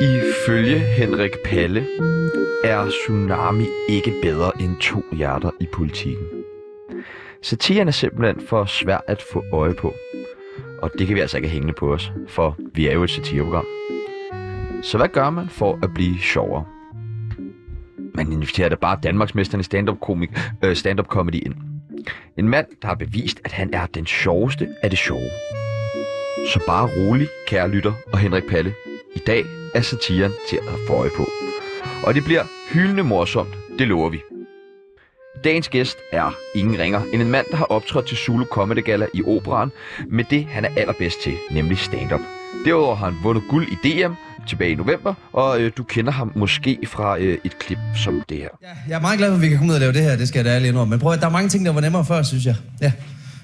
Ifølge Henrik Palle er Tsunami ikke bedre end to hjerter i politikken. Satiren er simpelthen for svær at få øje på. Og det kan vi altså ikke have hængende på os, for vi er jo et satireprogram. Så hvad gør man for at blive sjovere? Man inviterer da bare Danmarksmesteren i stand-up, komik, øh, stand-up comedy ind. En mand, der har bevist, at han er den sjoveste af det sjove. Så bare rolig, kære lytter og Henrik Palle. I dag er satiren til at få øje på. Og det bliver hyldende morsomt, det lover vi. Dagens gæst er ingen ringer end en mand, der har optrådt til Zulu Comedy Gala i operan med det, han er allerbedst til, nemlig stand-up. Derudover har han vundet guld i DM tilbage i november, og øh, du kender ham måske fra øh, et klip som det her. Ja, jeg er meget glad for, at vi kan komme ud og lave det her, det skal jeg da ærligt indrømme. Men prøv at der er mange ting, der var nemmere før, synes jeg. Ja,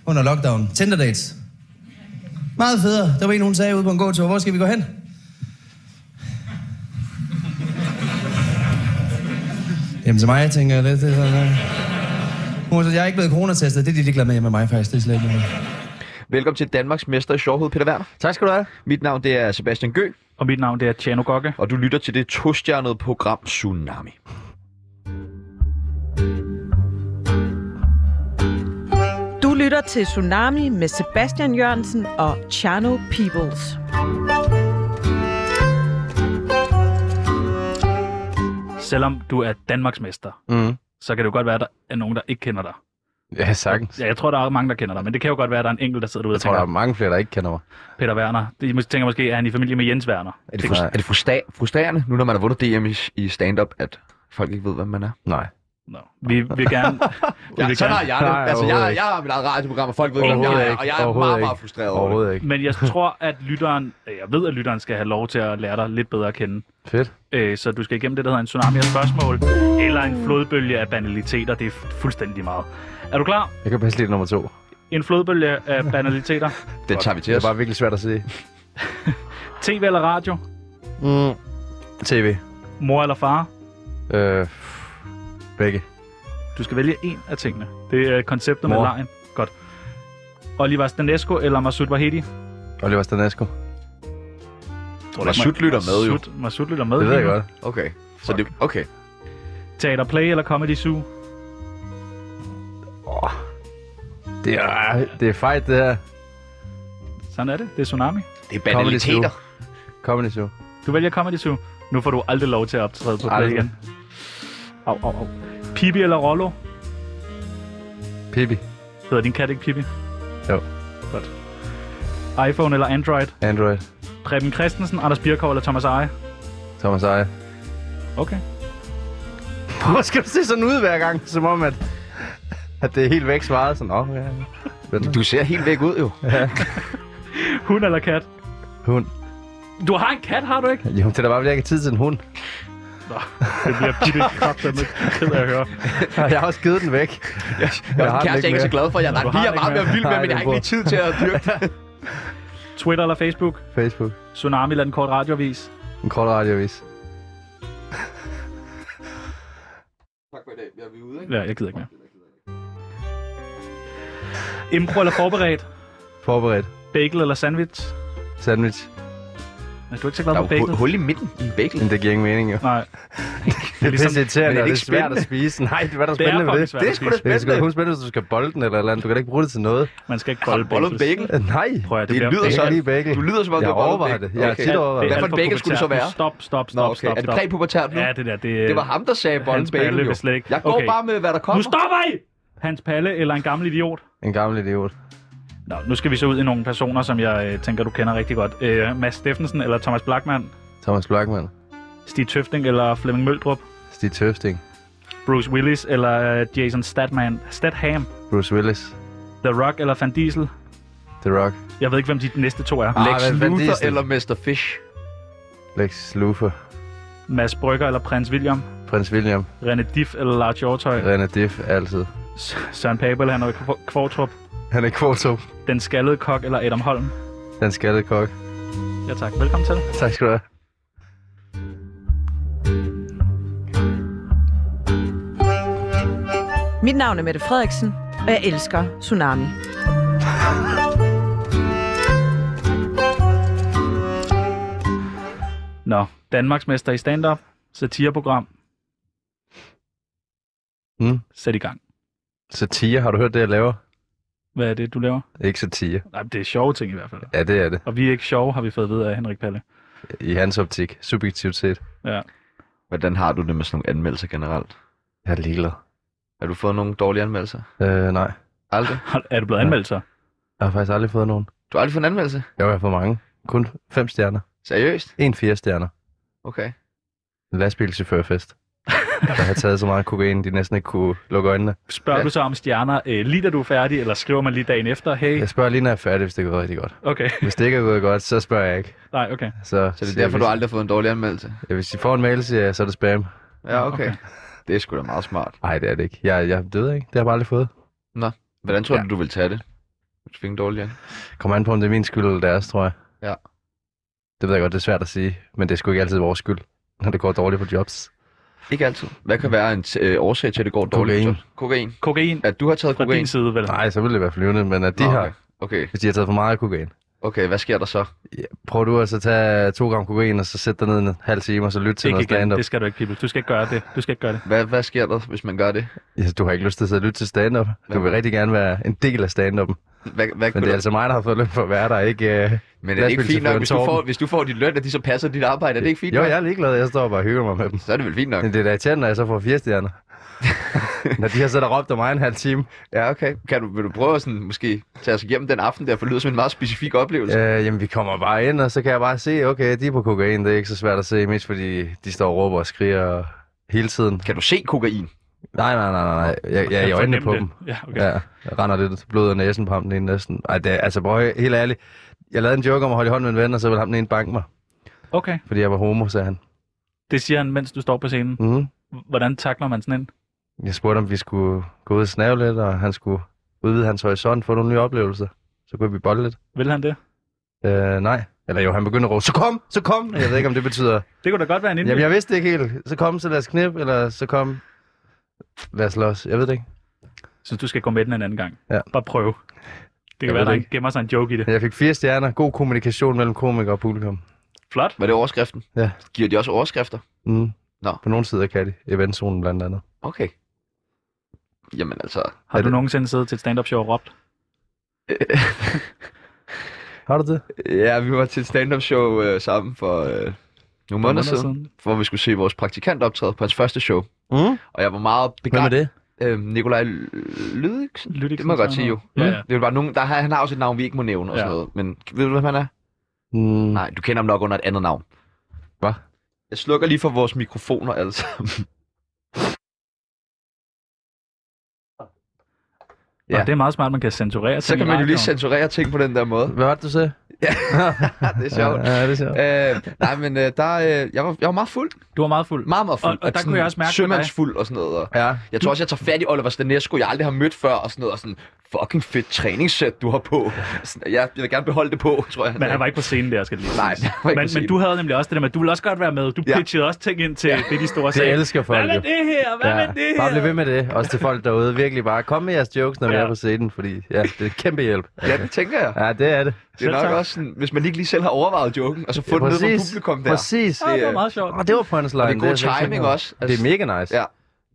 under lockdown. Tinder dates. Meget federe. Der var en, hun sagde ude på en gåtur, hvor skal vi gå hen? Jamen til mig, tænker jeg lidt. Det er sådan, ja. Hun sagde, jeg er ikke blevet coronatestet. Det er de ligeglade med hjemme med mig, faktisk. Det er slet ikke noget. Velkommen til Danmarks mester i sjovhed, Peter Werner. Tak skal du have. Mit navn det er Sebastian Gø, Og mit navn det er Tjano Gokke. og du lytter til det tostjernede program Tsunami. Du lytter til Tsunami med Sebastian Jørgensen og Chano Peoples. Selvom du er Danmarks mester, Mm. så kan det jo godt være, at der er nogen, der ikke kender dig. Ja, sagtens. Ja, jeg tror, der er mange, der kender dig, men det kan jo godt være, at der er en enkelt, der sidder derude Jeg og tror, der er tænker, mange flere, der ikke kender mig. Peter Werner. De mås- tænker måske, er han i familie med Jens Werner? Er Er det, det frus- fra... er det frusta- frustrerende, nu når man har vundet DM i, i stand-up, at folk ikke ved, hvem man er? Nej. No. Vi vil gerne... vi vil gerne. jeg Altså, Nej, overhovedet ikke. jeg har mit eget radioprogram, og folk ved Overhovedet ikke. Overhovedet ikke. frustreret Overhovedet ikke. Men jeg tror, at lytteren... Jeg ved, at lytteren skal have lov til at lære dig lidt bedre at kende. Fedt. Øh, Så du skal igennem det, der hedder en tsunami af spørgsmål, eller en flodbølge af banaliteter. Det er fu- fuldstændig meget. Er du klar? Jeg kan passe lidt nummer to. En flodbølge af banaliteter. det. Den tager vi Det til er os. bare virkelig svært at sige. TV eller radio? Mm. TV. Mor eller far? Øh, begge. Du skal vælge en af tingene. Det er konceptet med Mor. lejen. Godt. Oliver Stanesco eller Masud Vahedi? Jeg Oliver Stanesco. Tror, Masud lytter med, jo. Masud, Masud lytter med. Det ved jeg lige nu. godt. Okay. Så det, okay. Teater Play eller Comedy Zoo? Det er, det er fejt, det her. Sådan er det. Det er Tsunami. Det er Comedy Zoo. banaliteter. Comedy show. Du vælger Comedy Zoo. Nu får du aldrig lov til at optræde på Ej, play det- igen. Au, au, au. Pippi eller Rollo? Pippi. Hedder din kat ikke Pippi? Jo. Godt. iPhone eller Android? Android. Preben Christensen, Anders Birkov eller Thomas Eje? Thomas Eje. Okay. Hvor skal du se sådan ud hver gang? Som om, at, at det er helt væk svaret. Sådan, åh, oh, ja. Du ser helt væk ud, jo. Hund eller kat? Hund. Du har en kat, har du ikke? Jo, det er da bare, fordi jeg ikke har tid til en hund. Nå, det bliver Pippi kraftedeme ked af at høre. Og jeg har også givet den væk. Jeg har er den kæreste, jeg er ikke ikke så mere. glad for. Jeg er, Nå, du nej, lige har er den meget ikke mere vild med, Nej, men jeg har den ikke lige tid til at dyrke det. Twitter eller Facebook? Facebook. Tsunami eller en kort radiovis? En kort radiovis. Tak for i dag. Er vi ude, Ja, jeg gider ikke mere. Impro eller forberedt? Forberedt. Bagel eller sandwich? Sandwich. Men du er ikke så Der glad er for jo bagel? hu- hul i midten i en bagel. Men det giver ingen mening, jo. Nej. Det er Det ligesom, er pisse irriterende, Men det og det er er ikke svært at spise. Nej, det er der det er spændende ved fucking det. svært at spise. Det er sgu da kun spændende, hvis du skal bolde den eller et eller andet. Du kan da ikke bruge det til noget. Man skal ikke Har bolle du bollet bagels. bagel? Nej. Prøv at det, Det bliver- lyder Jeg det så- kan lide bagel. Du lyder som om, Jeg du har bollet overvejer bagel. det. Jeg er Okay. tit er- overvejet. det er Hvad for en alt bagel skulle det så populært. være? Stop, stop, Nå, stop, okay. stop, Er det stop. præpubertært nu? Ja, det der, det, Det var ham, der sagde bolden Hans Palle bagel, jo. vil slet ikke. Jeg går Okay. bare med, hvad der Nu kommer. stopper I! Hans Palle eller en gammel idiot? En gammel idiot. Nå, nu skal vi så ud i nogle personer, som jeg øh, tænker, du kender rigtig godt. Øh, Mads Steffensen eller Thomas Blackman? Thomas Blackman. Stig Tøfting eller Flemming Møldrup? Stig Tøfting. Bruce Willis eller øh, Jason Statham? Statham? Bruce Willis. The Rock eller Van Diesel? The Rock. Jeg ved ikke, hvem de næste to er. Ah, Lex hvad fanden er det, Luthor Sten? eller Mr. Fish? Lex Luthor. Mads Brygger eller Prins William? Prins William. René Diff eller Lars Hjortøj? René Diff. Altid. S- Søren Pape eller Henrik Kv- Kvartrup? Han er kvoto. Den skaldede kok eller Adam Holm? Den skaldede kok. Ja tak, velkommen til. Tak skal du have. Mit navn er Mette Frederiksen, og jeg elsker Tsunami. Nå, Danmarksmester i stand-up, satireprogram. Mm. Sæt i gang. Satire, har du hørt det, jeg laver? Hvad er det, du laver? Ikke satire. Nej, det er sjove ting i hvert fald. Ja, det er det. Og vi er ikke sjove, har vi fået at vide af Henrik Palle. I hans optik. Subjektivt set. Ja. Hvordan har du det med sådan nogle anmeldelser generelt? Jeg er ligeglad. Har du fået nogle dårlige anmeldelser? Øh, nej. Aldrig? Har- Er du blevet anmeldt så? Jeg har faktisk aldrig fået nogen. Du har aldrig fået en anmeldelse? Jo, jeg har fået mange. Kun fem stjerner. Seriøst? En fire stjerner. Okay. En lastbilchaufførfest. der har taget så meget kokain, de næsten ikke kunne lukke øjnene. Spørger Ja. du så om stjerner, øh, lige da du er færdig, eller skriver man lige dagen efter? Hey, Jeg spørger lige, når jeg er færdig, hvis det er gået rigtig godt. okay. Hvis det ikke er gået godt, så spørger jeg ikke. Nej, okay. Så, Så det er derfor, hvis, du aldrig har fået en dårlig anmeldelse? Ja, hvis I får en mail, siger jeg, så er det spam. Ja, okay. Det er sgu da meget smart. Nej, det er det ikke. Jeg, jeg ved ikke. Det har jeg bare aldrig fået. Hvordan tror Ja. ja. du, du vil tage det? Hvis du fik en dårlig an? Kommer an på, om det er min skyld eller deres, tror jeg. Ja. Det ved jeg godt, det er svært at sige, men det er sgu ikke altid vores skyld, når det går dårligt på jobs. Ikke altid. Hvad kan være en t- øh, årsag til, at det går dårligt? Mm. Kokain. Så- Kokain. Kokain At du har taget fra kokain? din side, vel? Nej, så ville det være flyvende, men at de Nå, har, okay. okay. hvis de har taget for meget kokain, Okay, hvad sker der så? prøv du at så tage to gram kokain, og så sætte dig ned en halv time, og så lytte til Ikke noget igen. stand-up. Det skal du ikke, Pibel. Du skal ikke gøre det. Du skal ikke gøre det. Hvad, hvad sker der, hvis man gør det? Ja, du har ikke lyst til at sidde og lytte til stand-up. Du vil rigtig gerne være en del af stand-upen. Hvad, hvad Men det er altså mig, der har fået løn for at være der, ikke... Øh... men er det ikke fint nok, hvis du, lastbilchaufføren får, Torben? hvis du får dit løn, at de så passer dit arbejde? Er det ikke fint Jo, nok? jeg er ligeglad. Jeg står bare og hygger mig med dem. Så er det vel fint nok. Men det er da irriterende, når jeg så får fire stjerner. når de har siddet og råbt om mig en halv time. Ja, okay. Kan du, vil du prøve at sådan, måske tage os igennem den aften der, for det lyder som en meget specifik oplevelse? Ja. Øh, jamen, vi kommer bare ind, og så kan jeg bare se, okay, de er på kokain. Det er ikke så svært at se, mest fordi de står og råber og skriger hele tiden. Kan du se kokain? Nej, nej, nej, nej. nej. Jeg, jeg er i øjnene på dem. Fornem det. Ja, okay. Ja, jeg render lidt blod af næsen på ham den ene næsten. Ej, det, er- altså, prøv, at- helt ærligt. Jeg lavede en joke om at holde i hånden med en ven, og så ville ham den ene banke mig, okay. fordi jeg var homo, sagde han. Det siger han, mens du står på scenen. Mm-hmm. Hvordan takler man sådan en? Jeg spurgte, om vi skulle gå ud og snave lidt, og han skulle udvide hans horisont, få nogle nye oplevelser. Så kunne vi bolle lidt. Vil han det? Øh, nej. Eller jo, han begyndte at råbe, så kom, så kom! Jeg ved ikke, om det betyder, Det kunne da godt være en Jamen, indvending. jeg vidste det ikke helt. Så kom, så lad os knip, eller så kom, lad os slås. Jeg ved det ikke. Jeg synes, du skal gå med den en anden gang. Ja. Bare prøv. Det kan Jeg være, ved der det ikke. gemmer sig en joke i det. Men jeg fik fire stjerner. God kommunikation mellem komiker og publikum. Flot. Var det overskriften? Ja. Giver de også overskrifter? Mm. Nå. På nogle sider kan de. Eventzonen blandt andet. Okay. Jamen altså... Har Er du det- nogensinde siddet til et stand-up show og råbt? Har du det? Ja, vi var til et stand-up show øh, sammen for øh, nogle måneder, måneder siden, siden. hvor vi skulle se vores praktikant optræde på hans første show. Mm. Og jeg var meget Hvem er begejstret. det? Øh, Nikolaj Lydiksen? Lyt ikke Det må jeg sådan, godt så sige jo. Mm. han- Ja, ja. Det er bare nogen, der, har- han har også et navn, vi ikke må nævne og sådan Ja. noget. Men ved du, hvem han er? Mm. Nej, du kender ham nok under et andet navn. Hvad? Jeg slukker lige for vores mikrofoner alle sammen. Ja. Ja. Og det er meget smart, man kan censurere Så ting kan i man jo lige radioen. censurere ting på den der måde. Hvad var det, du sagde? Ja, det er sjovt. Ja, ja, det er sjovt. Øh, nej, men øh, der, øh, jeg, var, jeg var meget fuld. Du var meget fuld. Meget, meget fuld. Og- og der sådan kunne jeg også mærke på dig- Sømandsfuld og sådan noget. Og Ja. jeg tror også, jeg tager fat i Oliver Stanesco, jeg aldrig har mødt før, og sådan noget. Og sådan, fucking fedt træningssæt, du har på. Sådan, jeg, jeg vil gerne beholde det på, tror jeg. Men han var ikke på scenen der, skal det lige Nej, siges. han var ikke på men, men scenen. du havde nemlig også det der med, at du ville også godt være med. Du Ja. pitchede også ting ind til det, de store Det sagde. elsker folk Hvad med jo. det her? Hvad med det her? Bare bliv ved med det. Også til folk derude. Virkelig bare kom med jeres jokes, når vi Ja. er på scenen, fordi ja, det er kæmpe hjælp. Ja, det tænker jeg. Ja, det er det. Det er Selv tak. nok også sådan, hvis man ikke lige selv har overvejet joken, og så få Ja, ja, den ned fra publikum der. Præcis. Ah, det var øh, meget sjovt. Og det var punchline. Og det er god jeg slet ikke timing tænkt over. også. Det er mega nice. Ja,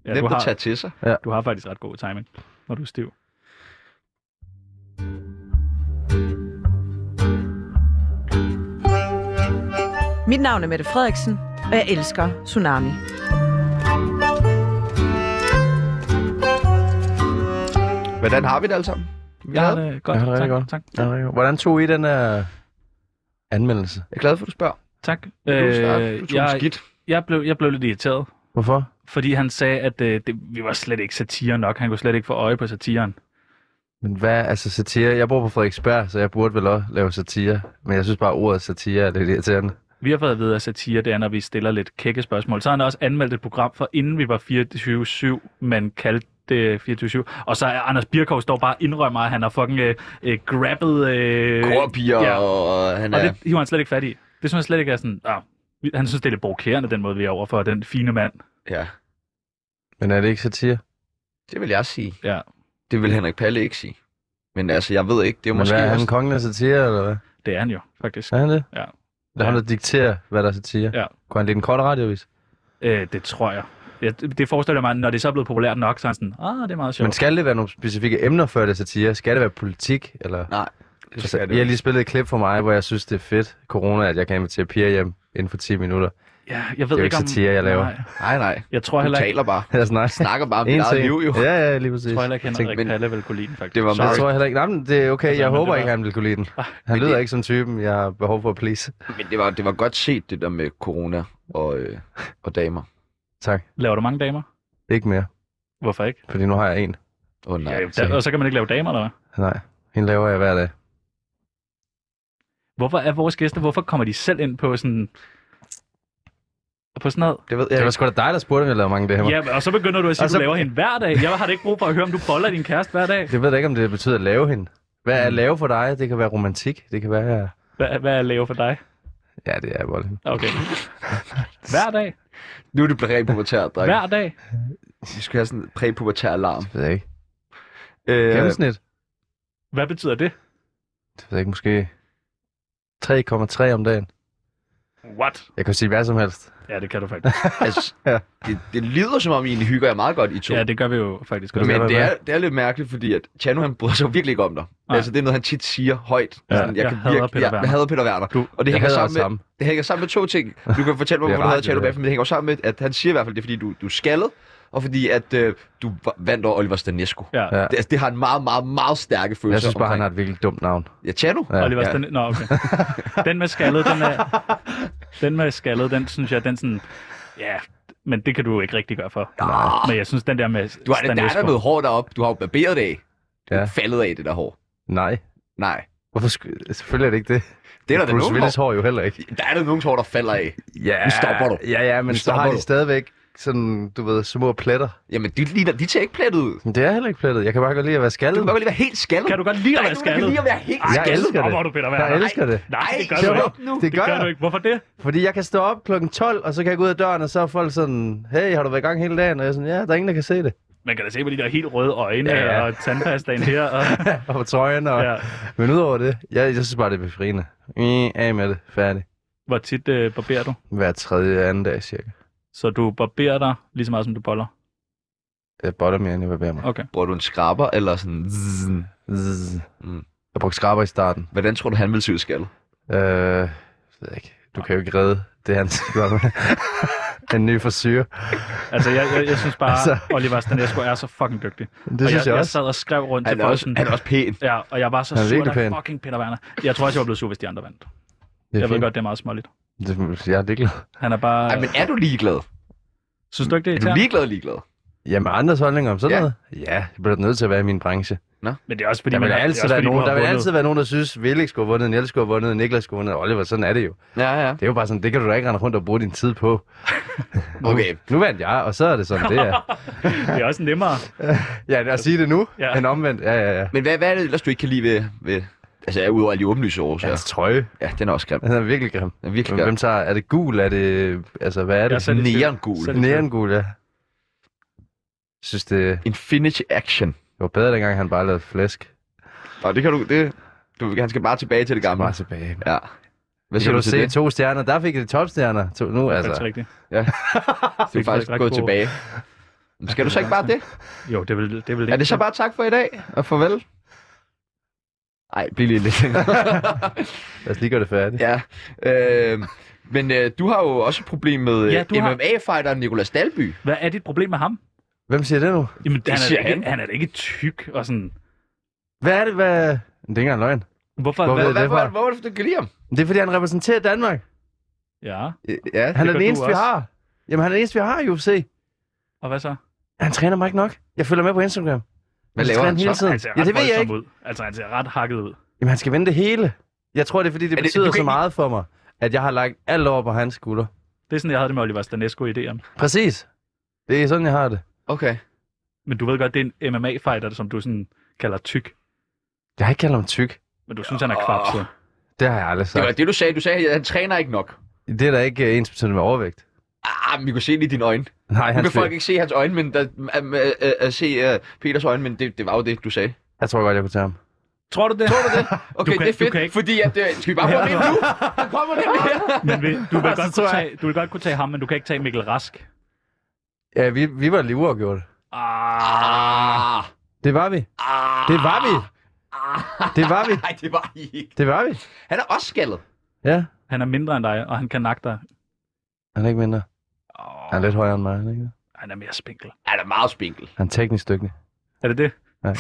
Ja, du, nemt at har, tage til sig. du har faktisk ret god timing, når du er stiv. Mit navn er Mette Frederiksen, og jeg elsker Tsunami. Hvordan har vi det alle sammen? Vi Jeg er har glade. det godt. Jeg har det tak, rigtig godt. tak, Ja, rigtig godt. Hvordan tog I den her anmeldelse? Jeg er glad for, at du spørger. tak. Du, øh, du tog jeg... jeg, skidt. jeg, blev, jeg blev lidt irriteret, Hvorfor? fordi han sagde, at øh, det, vi var slet ikke satire nok. Han kunne slet ikke få øje på satiren. Men hvad, altså satire? Jeg bor på Frederiksberg, så jeg burde vel også lave satire. Men jeg synes bare, at ordet satire er lidt irriterende. Vi har fået at vide, at satire det er, når vi stiller lidt kække spørgsmål. Så har han også anmeldt et program for, inden vi var 24-7, men kaldte det 24-7. Og så er Anders Birkov står bare og indrømmer, at han har fucking øh, øh, grabbet... Øh, Korpiger, ja. ja. og han Og er... det hiver han slet ikke fat i. Det synes han slet ikke er sådan... Ah, vi- han synes, det er lidt provokerende, den måde, vi er overfor den fine mand. Ja, Men er det ikke satire? det vil jeg sige. Ja. Det vil Henrik Palle ikke sige. Men altså, jeg ved ikke, det er jo Men måske hvad, er han også... kongen af satire, eller hvad? Det er han jo, faktisk. Er han det? Ja. Det er ham, der dikterer, hvad der er satire. Ja. Kunne han lide en kort radiovis? Øh, det tror jeg. jeg. Det forestiller jeg mig, når det så er blevet populært nok, så er han sådan, ah, det er meget sjovt. Men skal det være nogle specifikke emner, før det er satire? Skal det være politik? Eller... Nej. Det Altså, skal I det har jo. lige spillet et klip for mig, hvor jeg synes, det er fedt, corona, at jeg kan invitere Pia hjem inden for 10 minutter. Ja, jeg ved jo ikke ikke om... satire, jeg laver. Nej, Nej, nej. jeg tror Du heller ikke, taler bare. Jeg snakker Snakker bare om dit En eget ting. liv, jo. Ja, ja, lige præcis. jeg tror heller ikke, Jeg Henrik tænkte, men- Palle vil kunne lide den, faktisk. Det var Jeg meget- tror heller ikke, nej, men det er okay. Altså, jeg men håber det ikke, var- han ville kunne lide den. Han men lyder det- ikke som typen, jeg har behov for at please. Men det var, det var godt set, det der med corona og, øh, og damer. Tak. Laver du mange damer? Ikke mere, Hvorfor ikke? fordi nu har jeg en. Åh oh, nej. Ja, jo, sikkert. da, og så kan man ikke lave damer, eller hvad? Nej, hende laver jeg hver dag. Hvorfor er vores gæster, hvorfor kommer de selv ind på sådan... På sådan noget? Det ved jeg Det var ikke. sgu da dig, der spurgte, om jeg lavede mange damer. Ja, og så begynder du at sige, Og at så- du laver hende hver dag. Jeg har da ikke brug for at høre, om du boller din kæreste hver dag. Jeg ved da ikke, om det betyder at lave hende. Hvad Mm. er at lave for dig? Det kan være romantik. Det kan være... jeg- Hvad, hvad er lave for dig? Ja, det er vold. Okay. Hver dag? Nu er det præpubertært, dreng. Hver dag? Vi skal have sådan en præpubertær alarm. Det ved jeg ikke. Øh, Gennemsnit? Hvad betyder det? Det ved jeg ikke, måske 3,3 om dagen. What? Jeg kan sige hvad som helst. Ja, det kan du faktisk. altså, det, det lyder som om, I egentlig hygger jer meget godt, I to. Ja, det gør vi jo faktisk også. Men- Men det er, det er lidt mærkeligt, fordi at Chano, han bryder sig virkelig ikke om dig. Nej. Altså, det er noget, han tit siger højt. Ja, jeg hader virke- Peter ja, Werner. Jeg hader Peter Werner. Du- og det jeg hænger, hader sammen også ham. med, det hænger sammen med to ting. Du kan fortælle mig, Det er hvorfor du hader rart, Chano det der. bagefter, men det hænger jo sammen med, at han siger i hvert fald, det er, fordi du, du er skaldet, og fordi at øh, du v- vandt over Oliver Stanesco. Ja. Ja. Det, altså, det har en meget, meget, meget stærke følelse Jeg synes bare, han har omkring. et virkelig dumt navn. Ja, Chano? Ja. Ja, Oliver Ja. Stan... Nå, okay. Den med skaldet, den er... Den med skaldet, den synes jeg, den sådan... Ja, men det kan du jo ikke rigtig gøre for. Ah, Men jeg synes, den der med Du har det, der er der noget hår deroppe. Du har jo barberet det af. Du er Ja. ikke faldet af det der hår. Nej. Nej. Hvorfor sku... Selvfølgelig er det ikke det. Det er der da Bruce nogen Willis hår jo heller ikke. Der er der nogen hår, der falder af. Ja, Nu stopper du. Ja, ja, men Nu så stopper har de du. stadigvæk sådan, du ved, små pletter. Jamen, de, ligner, de tager ikke plettet ud. Men det er heller ikke plettet. Jeg kan bare godt lide at være Du skaldet. kan godt lige være helt skaldet. Kan du godt lide at være Der er skaldet? nogen, der kan lide at være helt Ej, jeg skaldet. elsker det. Hvor du, Peter Jeg Werner? elsker det. Nej, det gør Ej, du shut ikke. up nu. Det Det gør, gør jeg. du ikke. Hvorfor det? Fordi jeg kan stå op klokken 12, og så kan jeg gå ud af døren, og så er folk sådan, hey, har du været i gang hele dagen? Og jeg er sådan, ja, der er ingen, der kan se det. Man kan da se på de der helt røde øjne Ja, ja. og tandpastaen her. Og, og på trøjen. Og... ja. Ja. Men udover det, jeg, jeg synes bare, det er befriende. Mm, af med det. Færdig. Hvor tit øh, barberer du? Hver tredje anden dag, cirka. Så du barberer dig lige så meget, som du boller? Jeg botter mere, end jeg bevæger mig. Okay. Bruger du en skraber eller sådan... zzz? Zzz. Mm. Jeg brugte skraber i starten. Hvordan tror du, han vil se ud skaldet? Øh, jeg ved ikke. Du kan jo ikke redde det, han gør med. en ny forsyre. Altså, jeg, jeg, jeg synes bare, altså... Altså. Oliver Stanesco er så fucking dygtig. Det og synes jeg, jeg jeg også. sad og skrev rundt Han til er, folk også, sådan- han er også pæn. Ja, og jeg var så Han er sur, virkelig der pæn. fucking Peter Werner. Jeg tror også, jeg var blevet sur, hvis de andre vandt. Det er Jeg ved fint. godt, det er meget småligt. Det, jeg er ligeglad. Han er bare... Ej, men er du ligeglad? Synes du ikke, det er Er du irriterende? ligeglad ligeglad? Jamen, andres holdninger om sådan Ja. noget? Ja, det bliver da nødt til at være i min branche. Men det er også fordi, Der man vil har- det er altid også være fordi, du nogen, har der vil vundet. altid være nogen, der synes, Felix skulle have vundet, Niels skulle have vundet, Niklas skulle have vundet, Oliver, sådan er det jo. Ja, ja. Det er jo bare sådan, det kan du da ikke rende rundt og bruge din tid på. Okay. Nu vandt jeg, og så er det sådan, det er. Det er også nemmere. Ja, at sige det nu, Ja. ja. end omvendt. Ja, ja, ja. Men hvad, hvad er det ellers, du ikke kan lide ved... ved altså, jeg er udover alle de åbenlyse årsager. Hans trøje, Ja, den er også grim. den er virkelig grim. Den er virkelig grim. Hvem tager, er det gul, er det, altså hvad er Jeg er det? selv i tvivl. Neongul. Selv i tvivl. Neongul, ja. Jeg synes, det Infinity Action. var bedre, dengang han bare lavede flæsk. Nå, det kan du... Det, du han skal bare tilbage til det gamle. Bare tilbage. Ja. Hvad Det siger kan du du til se det? to stjerner. Der fik det topstjerner. To, nu, Det er altså altså. rigtigt. Du er Det er faktisk faktisk ret gået gode. tilbage. Men Skal du så ikke bare det? Jo, det vil det. Vil Er det så bare tak for i dag, og farvel? Nej, bliv lige lidt længere. Lad os lige gøre det færdigt. ja. Øh, men øh, du har jo også et problem med øh, Ja, ja, du har- MMA-fighteren Nicolas Dalby. Hvad er dit problem med ham? Hvem siger det nu? Jamen, det han, er da siger ikke, han. han er da ikke tyk og sådan... Hvad er det, hvad... Det er ikke engang løgn. Hvorfor? Hvor hvad? ved Hvad, det hvad, fra? hvor, hvor er det, du kan lide ham? Det er, fordi han repræsenterer Danmark. Ja, Øh, Ja. Han er gør den du eneste, vi også. har. Jamen, han er den eneste, vi har i UFC. og hvad så? Han træner mig ikke nok. Jeg følger med på Instagram. Hvad laver træner han hele så? tiden. Han ser ret Ja, det ved jeg voldsom ikke. ud. Altså, han ser ret hakket ud. Jamen, han skal vinde det hele. Jeg tror, det er, fordi det Er det- betyder du kan så ikke- meget for mig, at jeg har lagt alt over på hans skulder. Det er sådan, jeg havde det med Oliver Stanesco i DM. Præcis. Det er sådan, jeg har det. Okay. Men du ved godt, det er en MMA-fighter, som du sådan kalder tyk. Jeg har ikke kaldt ham tyk. Men du synes, han er kvapset. Det har jeg aldrig Det var sagt. det, du sagde. Du sagde, at han træner ikke nok. Det er da ikke øh, ens betydende med overvægt. Ah, men vi kunne se det i dine øjne. Nej, Nu han kan spiller- folk ikke se hans øjne, øh, men der, at, at, at, at se uh, Peters øjne, men det, det var jo det, du sagde. jeg tror godt, jeg kunne tage ham. Tror du det? Tror du det? Okay, kan- det er du fedt, kan ikke- fordi at... Øh, skal vi bare få det nu? Der kommer det her. Men vil, du, vil godt tror kunne jeg- tage, du vil godt kunne tage ham, men du kan ikke tage Mikkel Rask. Ja, vi, vi var lige uafgjort. Ah, Det var vi. ah, Det var vi. Det var vi. Nej, det var I ikke. Det var vi. Han er også skaldet. Ja. Han er mindre end dig, og han kan nakke dig. Han er ikke mindre. Åh, Han er lidt højere end mig, er han ikke? det? Han er mere spinkel. han er meget spinkel. Han er teknisk dygtig. Er det det? Han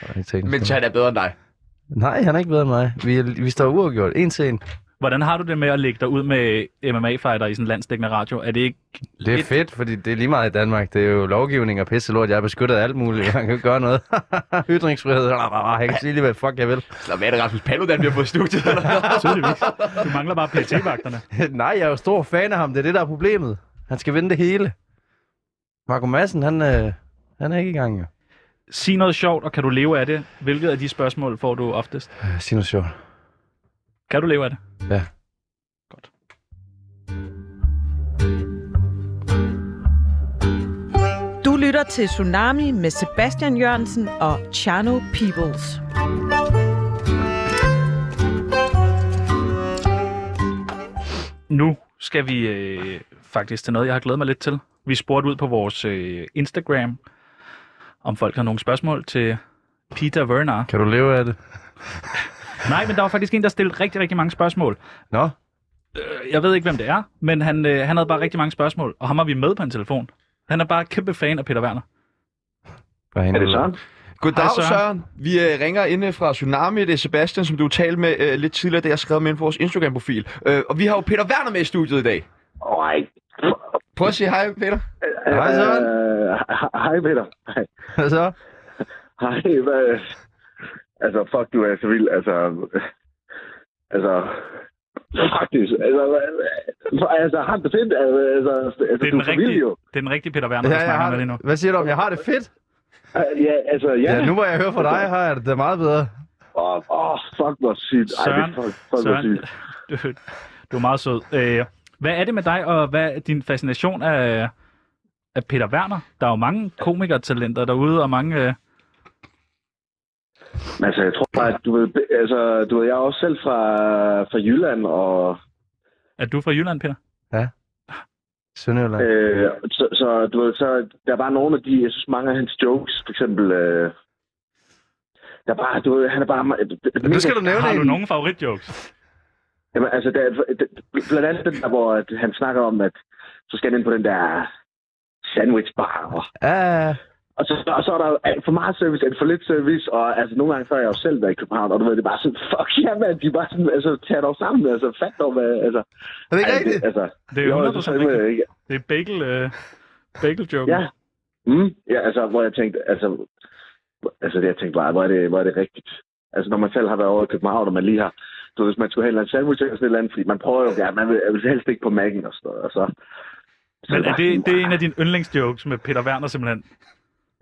er ikke teknisk Men så dygtig. han er bedre end dig. Nej, han er ikke bedre end mig. Vi, er- vi står uafgjort. En til en. Hvordan har du det med at lægge dig ud med MMA-fighter i sådan en landsdækkende radio? Er det ikke... Det er Et- fedt, fordi det er lige meget i Danmark. Det er jo lovgivning og pisse lort. Jeg er beskyttet af alt muligt. Man kan jo ikke gøre noget. Ytringsfrihed. Jeg kan sige lige, hvad fuck jeg vil. Slap af, det er Rasmus Paludan, vi har fået i studiet. Tydeligvis. Du mangler bare PT-vagterne. Nej, jeg er jo stor fan af ham. Det er det, der er problemet. Han skal vinde det hele. Marco Madsen, han, øh, han er ikke i gang, jo. Sig noget sjovt, og kan du leve af det? Hvilket af de spørgsmål får du oftest? Øh, Sig noget sjovt. Kan du leve af det? Ja. Godt. Du lytter til Tsunami med Sebastian Jørgensen og Chano Peoples. Nu skal vi øh, faktisk til noget, jeg har glædet mig lidt til. Vi spurgte ud på vores øh, Instagram, om folk har nogle spørgsmål til Peter Werner. Kan du leve af det? Nej, men der var faktisk en, der stillede rigtig, rigtig mange spørgsmål. Nå, Øh, Jeg ved ikke, hvem det er, men han, øh, han havde bare rigtig mange spørgsmål, og ham har vi med på en telefon. Han er bare kæmpe fan af Peter Werner. hvad Er det Søren? Goddag, Hej, Søren. Søren. Søren. Vi øh, ringer inde fra Tsunami. Det er Sebastian, som du talte med øh, lidt tidligere, det jeg skrev med ind på vores Instagram-profil. Øh, og vi har jo Peter Werner med i studiet i dag. Nej. Prøv at sige hej, Peter. Hej, Søren. Øh, he- Hej, Peter. Hej. Hvad så? Hej, hvad... Altså, fuck, du er så vild. Altså... Altså... Faktisk. Altså, hvad- altså har det fedt? Altså, altså, Det er du den er så vild rigtige, jo. det er den rigtige Peter Werner, ja, Ja, vi jeg snakker har med lige nu. Hvad siger du om, jeg har det fedt? Ja, altså, ja. Ja, nu hvor jeg hører fra dig, har jeg det da meget bedre. Åh, åh, fuck, hvor sygt. Ej, det Søren, er fuck, fuck, hvor Søren sygt. du, du er meget sød. Øh, hvad er det med dig, og hvad er din fascination af, af Peter Werner? Der er jo mange komikertalenter derude, og mange... Øh, Men altså, jeg tror bare, at du ved, det- altså, du ved, jeg er også selv fra, fra Jylland, og er du fra Jylland, Peter? Sønderjylland. Øh, så, så du ved, så der er bare nogle af de, jeg synes mange af hans jokes, for eksempel, øh, der er bare, du ved, han er bare... Nu skal du nævne Har du en. nogen favoritjokes? Jamen, altså, der, der, blandt andet den der, hvor at han snakker om, at så skal han ind på den der sandwichbar, og, Ja, og, så, og så er der jo alt for meget service, alt for lidt service, og altså, nogle gange så har jeg jo selv været i København, og du ved, det er bare sådan, fuck ja, yeah, mand, de er bare sådan, altså, tager dog sammen, altså, fat dog, hvad, altså... er det ikke ej, rigtigt? Altså, Det er jo 100% rigtigt. rigtigt. Det er bagel, øh, bagel joke. Ja. Mm, ja, altså, hvor jeg tænkte, altså, hvor- altså jeg tænkte bare, hvor er, det, hvor er det rigtigt? Altså, når man selv har været over i København, og man lige har, du ved, hvis man skulle have en eller anden sandwich eller sådan et eller andet, fordi man prøver jo, ja, man vil, jeg vil helst ikke på mærken og sådan noget, og så... så Men er bare sådan, det, det er en "Wow." af dine yndlingsjokes med Peter Werner, simpelthen.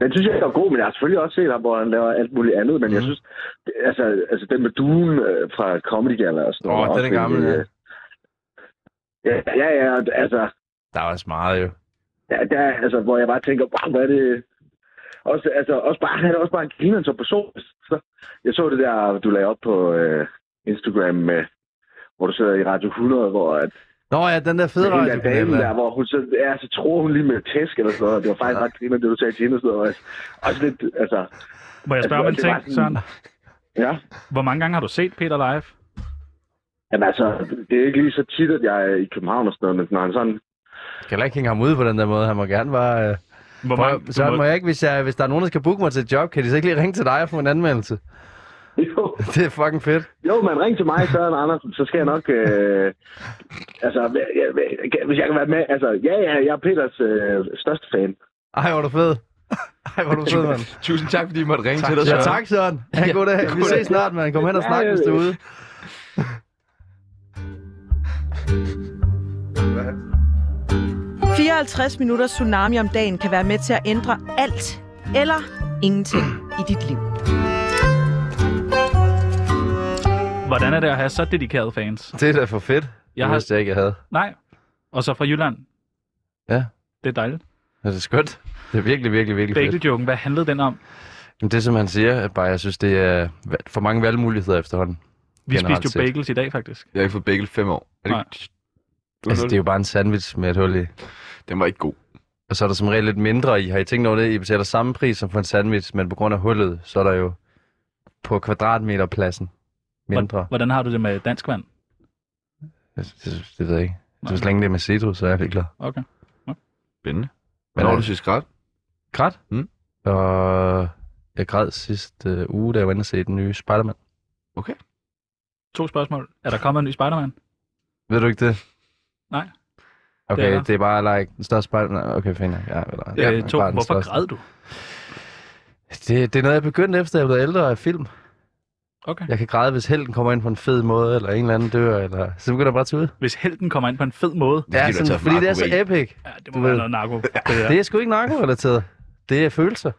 Den synes jeg er god, men jeg har selvfølgelig også set ham, hvor han laver alt muligt andet, Mhm. men mm. jeg synes, det- altså, altså den med duen øh, fra Comedy Gala og sådan Åh, noget. den er også gammel, virkelig, øh, Ja, ja, ja, altså, Der er også meget jo. Ja, der, er- altså, hvor jeg bare tænker, wow, hvad er det... Også, altså, også bare, han er også bare en griner som person. Så, jeg så det der, du lagde op på øh, Instagram, med, hvor du sidder i Radio 100, hvor at, Nå ja, den der fede hende der dame radiokanal. der, der. hvor hun så, ja, så tror hun lige med tæsk eller sådan noget. Det var faktisk ret griner, det du sagde til hende og sådan noget. Altså, også lidt, altså, Må jeg spørge om en Altså, det er ting, bare Søren? sådan- ja. Hvor mange gange har du set Peter live? Jamen altså, det er ikke lige så tit, at jeg er i København og sådan noget, men når han sådan... Jeg kan heller ikke hænge ham ude på den der måde. Han må gerne bare... Øh... Hvor mange, Prøv, så du må må, jeg ikke, hvis, jeg, hvis der er nogen, der skal booke mig til et job, kan de så ikke lige ringe til dig og få en anmeldelse? Jo, Det er fucking fedt. Jo, man ring til mig, Søren Andersen, så skal jeg nok... Øh, altså, jeg, jeg, hvis jeg kan være med... Altså, ja, ja, jeg er Peters øh, største fan. Ej, hvor er du fed. Ej, hvor er du fed, mand. Tusind tak, fordi I måtte ringe til dig, Ja, Søren. tak, Søren. Ja, god dag. Vi ses snart, mand. Kom hen og snak, hvis du er ude. Hvad? 54 minutter Tsunami om dagen kan være med til at ændre alt eller ingenting i dit liv. hvordan er det at have så dedikerede fans? Det er da for fedt. Jeg Jeg har- har... vidste jeg ikke, jeg havde. Nej. Og så fra Jylland. Ja. Det er dejligt. Det er skønt. Det er virkelig, virkelig, virkelig fedt. Bagel-joken, hvad handlede den om? Men Det, som han siger, er bare, jeg synes, det er va- for mange valgmuligheder efterhånden. Vi Generelt spiste jo set. bagels i dag, faktisk. Jeg har ikke fået begge fem år. Er det Nej. ikke... Altså, det er jo bare en sandwich med et hul i. Den var ikke god. Og så er der som regel lidt mindre i. Har I tænkt over det? I betaler samme pris som for en sandwich, men på grund af hullet, så er der jo på kvadratmeterpladsen mindre. Hvordan har du det med dansk vand? Det, det, det ved jeg ikke. Nej. Så så længe det er med citrus, så er jeg glad. Okay. Spændende. Men Hvornår har øh, du sidst grædt? Græd? Mm. Og jeg græd sidste øh, uge, da jeg var inde og se den nye Spider-Man. To spørgsmål. Er der kommet en ny Spider-Man? Ved du ikke det? Nej. Okay, det Det er er, der. det er bare like, den største Spider-Man. Nej, Okay, fint. nok. Ja, eller, Ja, ja, øh, to. bare den Hvorfor største. græd du? Det, det er noget, jeg begyndte efter, jeg blev ældre af film. Okay. Jeg kan græde, hvis helten kommer ind på en fed måde, eller en eller anden dør, eller... Så begynder jeg bare at tude. Hvis helten kommer ind på en fed måde. er, fordi Ja, du har sådan, taget fordi det er så narko epic. Ja, det Du må være ved. noget narko. Det der. Det er sgu ikke narkorelateret. Det er følelser.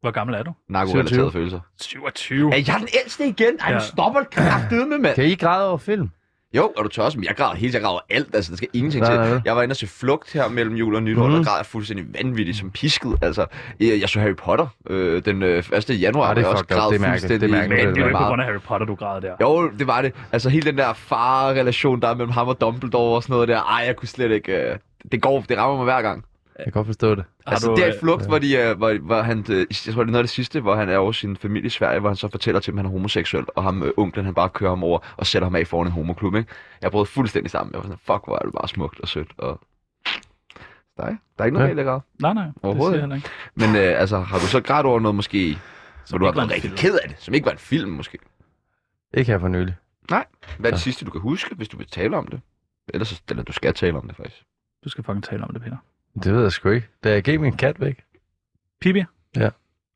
Hvor gammel er du? Narkorelaterede 27. følelser. 27. Er jeg den ældste igen? Ej, Ja. nu stopper det kraftedeme, mand. Kan I græde over film? Jo, og du tør også, men jeg græder hele tiden. Jeg græder over alt, altså der skal ingenting Nej, til. nej. Jeg var inde og se Flugt her mellem jul og nytår, mm. Mhm. og der græd jeg fuldstændig vanvittigt som pisket. Altså, øh, jeg så Harry Potter øh, den øh, 1. januar, Ah, det er og jeg også fucked up. Det er mærkeligt. Det er Men mærkeligt. det er jo ikke på meget. grund af Harry Potter, du græd der. Jo, det var det. Altså hele den der far-relation, der er mellem ham og Dumbledore og sådan noget der. Ej, jeg kunne slet ikke... Øh, det går, det rammer mig hver gang. Jeg kan godt forstå det. Har altså du, der øh, i Flugt, hvor, de, øh, hvor, hvor han... Øh, jeg tror, det er noget af det sidste, hvor han er over sin familie i Sverige, hvor han så fortæller til dem, at han er homoseksuel, og ham, øh, onklen, han bare kører ham over og sætter ham af foran en homoklub, ikke? Jeg brød fuldstændig sammen. Jeg var sådan, fuck, hvor er det bare smukt og sødt, og... Nej, der er ikke noget Ja. galt, jeg græder. Nej, nej. Det Overhovedet siger jeg heller ikke. Men øh, altså, har du så grædt over noget måske, som du har ikke var været en rigtig film. ked af det, som ikke var en film måske? Ikke her for nylig. Hvad er det Ja. sidste, du kan huske, hvis du vil tale om det? Ellers så, eller du skal tale om det, faktisk. Du skal fucking tale om det, Peter. Det ved jeg sgu ikke. Da jeg gav min kat væk. Pippi,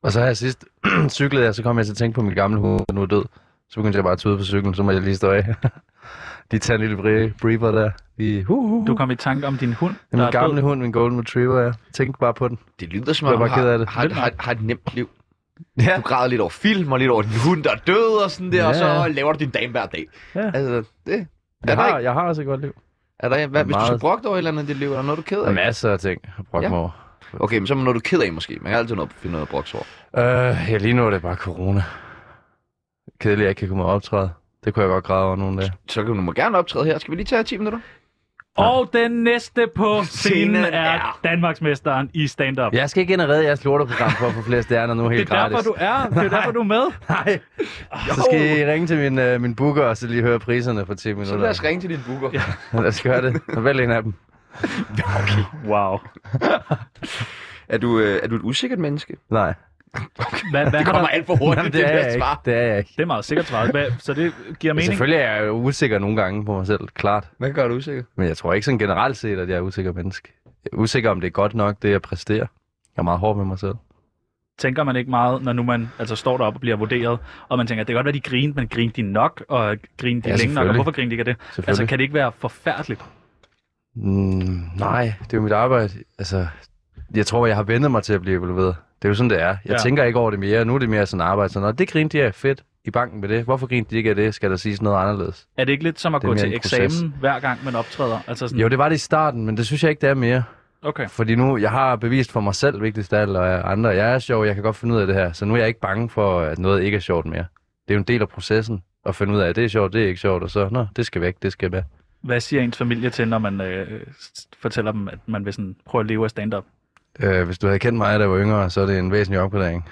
Og så har jeg sidst cyklet, jeg, så kom jeg til at tænke på min gamle hund, der nu er død. Så begyndte jeg bare at tude på cyklen, så må jeg lige stå af. de tager en lille bre- breather der. De, hu, hu, hu. du kom i tanke om din hund, Det er der min er død. Uhuh. gamle hund, min golden retriever, ja. Tænk bare på den. Det lyder som Jeg om, er du bare ked har, af det. har, Lidt har, har et nemt liv. Ja. Du græder lidt over film, og lidt over din hund, der er død og sådan der, ja. og så Ja. laver du din dame hver dag. Ja. Altså, det... Er Jeg der, har, ikke, jeg har også et godt liv. er der, hvad, er hvis du så meget- brokke over et eller andet i dit liv, er der noget, du er ked Der er af? masser af ting at brokke Ja. ja. mig over. Okay, men så er der noget, du er ked af måske. Man kan altid noget, finde noget at brokke sig over. Øh, ja, lige nu er det bare corona. Kedeligt, at jeg ikke kan komme og optræde. Det kunne jeg godt græde over nogle dage. Så kan du må gerne optræde her. Skal vi lige tage 10 minutter? Og den næste på scenen Scenen er er- Danmarksmesteren i stand-up. Jeg skal ikke ind og redde jeres lorteprogram for at få flere stjerner nu det helt er derfor, gratis. du er. Det er derfor, du er med. Nej. Så skal I ringe til min, øh, min booker, og så lige høre priserne for 10 minutter. Så lad os ringe til din booker. Ja. lad os gøre det. Og vælg en af dem. Wow. Er, du, øh, er du et usikkert menneske? Nej, Hvad, hvad Det har kommer der... alt for hurtigt, Jamen, det, er jeg ikke. Det er jeg ikke. Det er meget sikkert svaret. Hvad, så det giver Men mening. selvfølgelig er jeg jo usikker nogle gange på mig selv, klart. Hvad gør du usikker? Men jeg tror ikke sådan generelt set, at jeg er usikker menneske. Jeg er usikker, om det er godt nok, det jeg præsterer. Jeg er meget hård ved mig selv. Tænker man ikke meget, når nu man altså, står deroppe og bliver vurderet, og man tænker, det kan godt være, de grinte, men grinte de nok, og grinte de Ja, længe nok, og selvfølgelig. hvorfor grinte de ikke af det? Selvfølgelig. Altså, kan det ikke være forfærdeligt? Mm, nej, det er jo mit arbejde. Altså, jeg tror, jeg har vendet mig til at blive evalueret. Det er jo sådan, det er. Jeg Ja. ja. tænker ikke over det mere. Nu er det mere sådan arbejde. Sådan, "Nå, det grinte de af fedt i banken med det. Hvorfor grinte de ikke af det? Skal der siges noget anderledes? Er det ikke lidt som at Det er gå mere til en proces. eksamen hver gang, man optræder? Altså sådan, Jo, det var det i starten, men det synes jeg ikke, det er mere. okay. Fordi nu, jeg har bevist for mig selv, vigtigst af alt, og jeg- andre, jeg er sjov, jeg kan godt finde ud af det her. Så nu er jeg ikke bange for, at noget ikke er sjovt mere. Det er jo en del af processen at finde ud af, at det er sjovt, det er ikke sjovt, og så, nå, det skal væk, det skal væk. Hvad siger ens familie til, når man øh, s- fortæller dem, at man vil sådan, prøve at leve af stand-up? Øh, hvis du havde kendt mig, da jeg var yngre, så er det en væsentlig opgradering.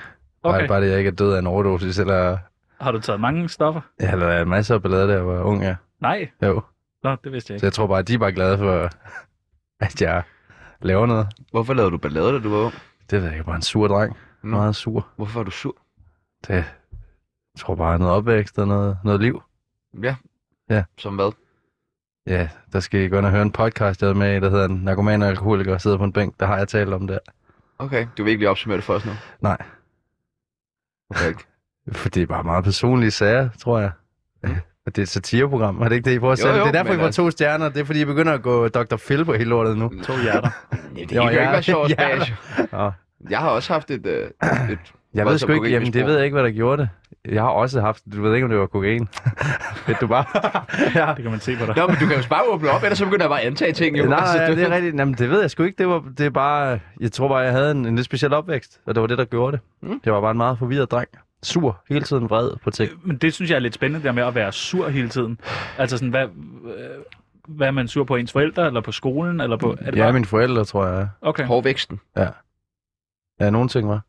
Okay. Okay. Bare, bare det, at jeg ikke er død af en overdosis, eller Har du taget mange stoffer? Jeg har lavet masser af ballade, da jeg var ung, ja. Nej. Jo. Nå, det vidste jeg Så ikke. jeg tror bare, at de er bare glade for, at jeg laver noget. Hvorfor lavede du ballade, da du var ung? Det ved jeg ikke, bare en sur dreng. Nå. Meget sur. Hvorfor er du sur? Det jeg tror bare noget opvækst og noget, noget liv. Ja. Ja. Som hvad? Ja, der skal I gå ind og høre en podcast, jeg havde med, i, der hedder Narkoman og Alkoholiker sidder på en bænk. Der har jeg talt om det. Okay, du vil ikke lige opsummere det for os nu? Nej, Okay, ikke? for det er bare meget personlige sager, tror jeg. Og det er et satireprogram, er det ikke det, I prøver at Mm. Jo, sælge? jo, det er derfor, men I får altså- to stjerner. Det er, fordi I begynder at gå Dr. Phil på hele lortet nu. To hjerter. Det Jo, kan jo ja. ikke være sjovt, Ja. ja. Nå. Jeg har også haft et, øh, et Jeg ved Voldsomt sgu ikke, jamen det kokainmisbrug. ved jeg ikke, hvad der gjorde det. Jeg har også haft, du ved ikke, om det var kokain. Fedt, du bare... ja. Det kan man se på dig. Nå, men du kan jo bare åbne op, ellers så begynder jeg bare at antage ting. Jo. altså, Nej, nej, du... det er rigtigt. Jamen, det ved jeg sgu ikke. Det, var, det er bare, jeg tror bare, jeg havde en, en lidt speciel opvækst, og det var det, der gjorde det. Mm. Jeg var bare en meget forvirret dreng. Sur, hele tiden vred på ting. Men det synes jeg er lidt spændende, det der med at være sur hele tiden. Altså sådan, hvad, øh, hvad er man sur på ens forældre, eller på skolen, eller på... Er det Ja, bare... mine forældre, tror jeg. Okay. Hårdvæksten. Ja, nogle ting var.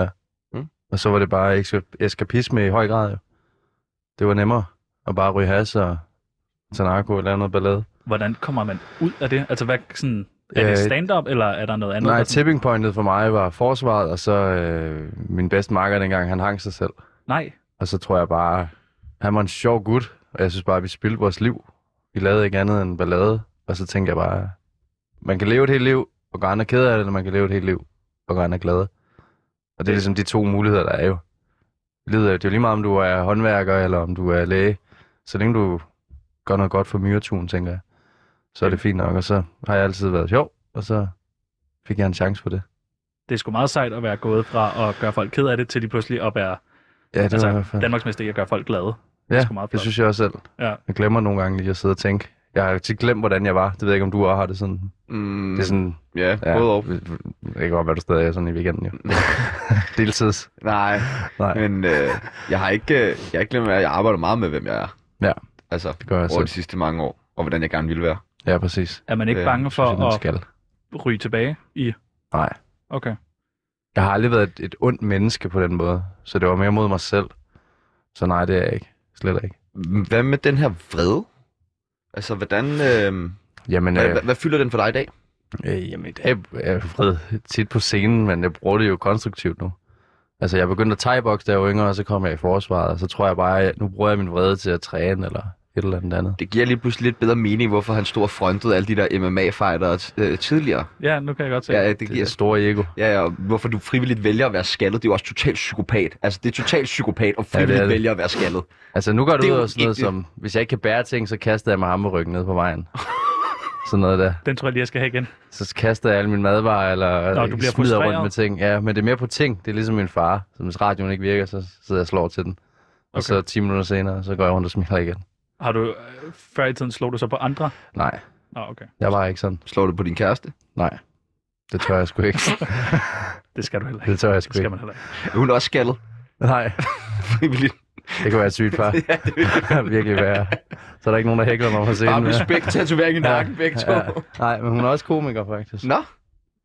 Ja. Mm. Mm. Og så var det bare eks- eskapisme i høj grad, jo. Det var nemmere at bare ryge has og tage narko eller noget ballade. Hvordan kommer man ud af det? Altså, hvad sådan... Er det Øh, stand-up, eller er der noget andet? Nej, der sådan- tipping pointet for mig var forsvaret, og så øh, min bedste marker dengang, han hang sig selv. Nej. Og så tror jeg bare, han var en sjov gut, og jeg synes bare, vi spildte vores liv. Vi lavede ikke andet end ballade, og så tænkte jeg bare, man kan leve et helt liv, og gøre andre ked af det, eller man kan leve et helt liv, og gøre andre glade. Og det er ligesom de to muligheder, der er jo. Livet er jo- Det er jo lige meget, om du er håndværker, eller om du er læge. Så længe du gør noget godt for myretun, tænker jeg, så er det fint nok. Og så har jeg altid været sjov, og så fik jeg en chance for det. Det er sgu meget sejt at være gået fra at gøre folk ked af det, til lige pludselig at være Ja, det altså, var i hvert fald. Danmarks mester i at gøre folk glade. Ja, sgu meget flot. det synes jeg også selv. Ja. Jeg glemmer nogle gange lige at sidde og tænke. Jeg har tit glemt, hvordan jeg var. Det ved jeg ikke, om du også har det sådan. Mm. Mm, Det er sådan, ja, ja, både og. jeg kan godt være, du stadig er sådan i weekenden, jo. Deltids. Nej, Nej, men øh, jeg har ikke, øh, jeg har ikke glemt, at jeg arbejder meget med, hvem jeg er. Ja, Altså, det gør jeg over de selv. sidste mange år, og hvordan jeg gerne ville være. Ja, præcis. Er man ikke Øh, bange For synes, jeg, for man at skal. ryge tilbage i... Nej. Okay. Jeg har aldrig været et, et ondt menneske på den måde, så det var mere mod mig selv. Så nej, det er jeg ikke. Slet ikke. Hvad med den her vrede? Altså, hvordan, øh, Jamen, hvad, øh, hvad, hvad fylder den for dig i dag? Øh, jamen, i dag er jeg vred tit på scenen, men jeg bruger det jo konstruktivt nu. Altså, jeg begyndte at thai-boxe, da jeg var yngre, og så kom jeg i forsvaret, og så tror jeg bare, at nu bruger jeg min vrede til at træne eller et eller andet andet. Det giver lige pludselig lidt bedre mening, hvorfor han stod og frontede alle de der MMA-fightere øh, tidligere. Ja, nu kan jeg godt se. Ja, det Det er giver det store ego. Ja, ja, og hvorfor du frivilligt vælger at være skaldet, det er jo også totalt psykopat. Altså, det er totalt psykopat og Ja, det er frivilligt ja, det det. det. vælger at være skaldet. Altså, nu går det, Det er det ud jo over sådan noget ikke- som, hvis jeg ikke kan bære ting, så kaster jeg mig hammerryggen ned på vejen. sådan noget der. Den tror jeg lige, jeg skal have igen. Så kaster jeg alle mine madvarer, eller Nå, du bliver øh, smider rundt frustreret. med ting. Ja, men det er mere på ting. Det er ligesom min far. Så hvis radioen ikke virker, så sidder jeg og slår til den. Og Okay. okay. så 10 minutter senere, så går jeg rundt og smiler igen. Har du øh, før i tiden slog du så på andre? Nej, Nå, okay. jeg var ikke sådan. Slår du på din kæreste? Nej, det tør jeg sgu ikke. Det skal du heller ikke. Det tør jeg sgu Det skal ikke. man heller ikke. Er hun også skaldet? Nej, Frivilligt. det kunne være et sygt far. Virkelig være. Så er der ikke nogen, der hækler mig på Bare scenen. mere. respekt, tatovering i nakken begge to. Ja. Nej, men hun er også komiker, faktisk. Nå,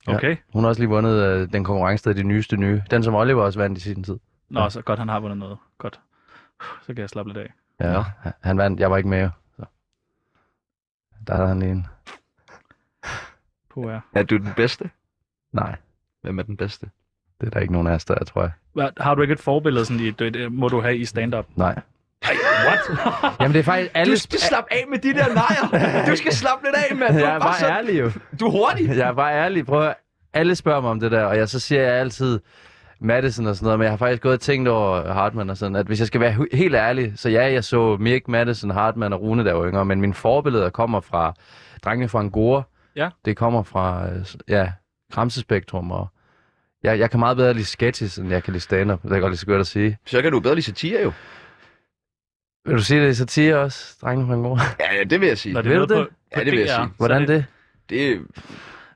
Ja. Okay. Hun har også lige vundet øh, den konkurrence, der er de nyeste nye. Den, som Oliver også vandt i sin tid. Nå, så godt, han har vundet noget. Godt. Så kan jeg slappe lidt af. Ja, Nå. han- han vandt. Jeg var ikke med, jo. så. Der havde han lige en... På jer. er du den bedste? Nej, Hvem er den bedste? det er der ikke nogen af os, der er, tror jeg. Hvad- Har du ikke et forbillede, sådan i, det, det må du have i stand-up? Nej. Ej, what? Jamen, det er faktisk alle... Du skal slappe af med de der nejer. Du skal slappe lidt af, mand. Du jeg er er bare bare så... ærlig, jo. Du er hurtig. Jeg er bare ærlig. Prøv at høre. alle spørger mig om det der, og jeg, så siger jeg altid Madison og sådan noget, men jeg har faktisk gået og tænkt over Hartmann og sådan, at hvis jeg skal være hu- helt ærlig, så ja, jeg så Mirk, Madison, Hartmann og Rune, der var yngre, men mine forbilleder kommer fra drengene fra Angora. Ja. Det kommer fra, øh, s- ja, Kramsespektrum, og jeg, jeg kan meget bedre lide sketches, end jeg kan lide stand-up. Det er godt lige så godt at sige. Så kan du bedre lide satire, jo. Vil du sige det i satire også, drengene fra Angora? Ja, ja, det vil jeg sige. Når det Vil er noget du på, det? på Ja, det vil jeg DR, sige. så Hvordan er det? Det,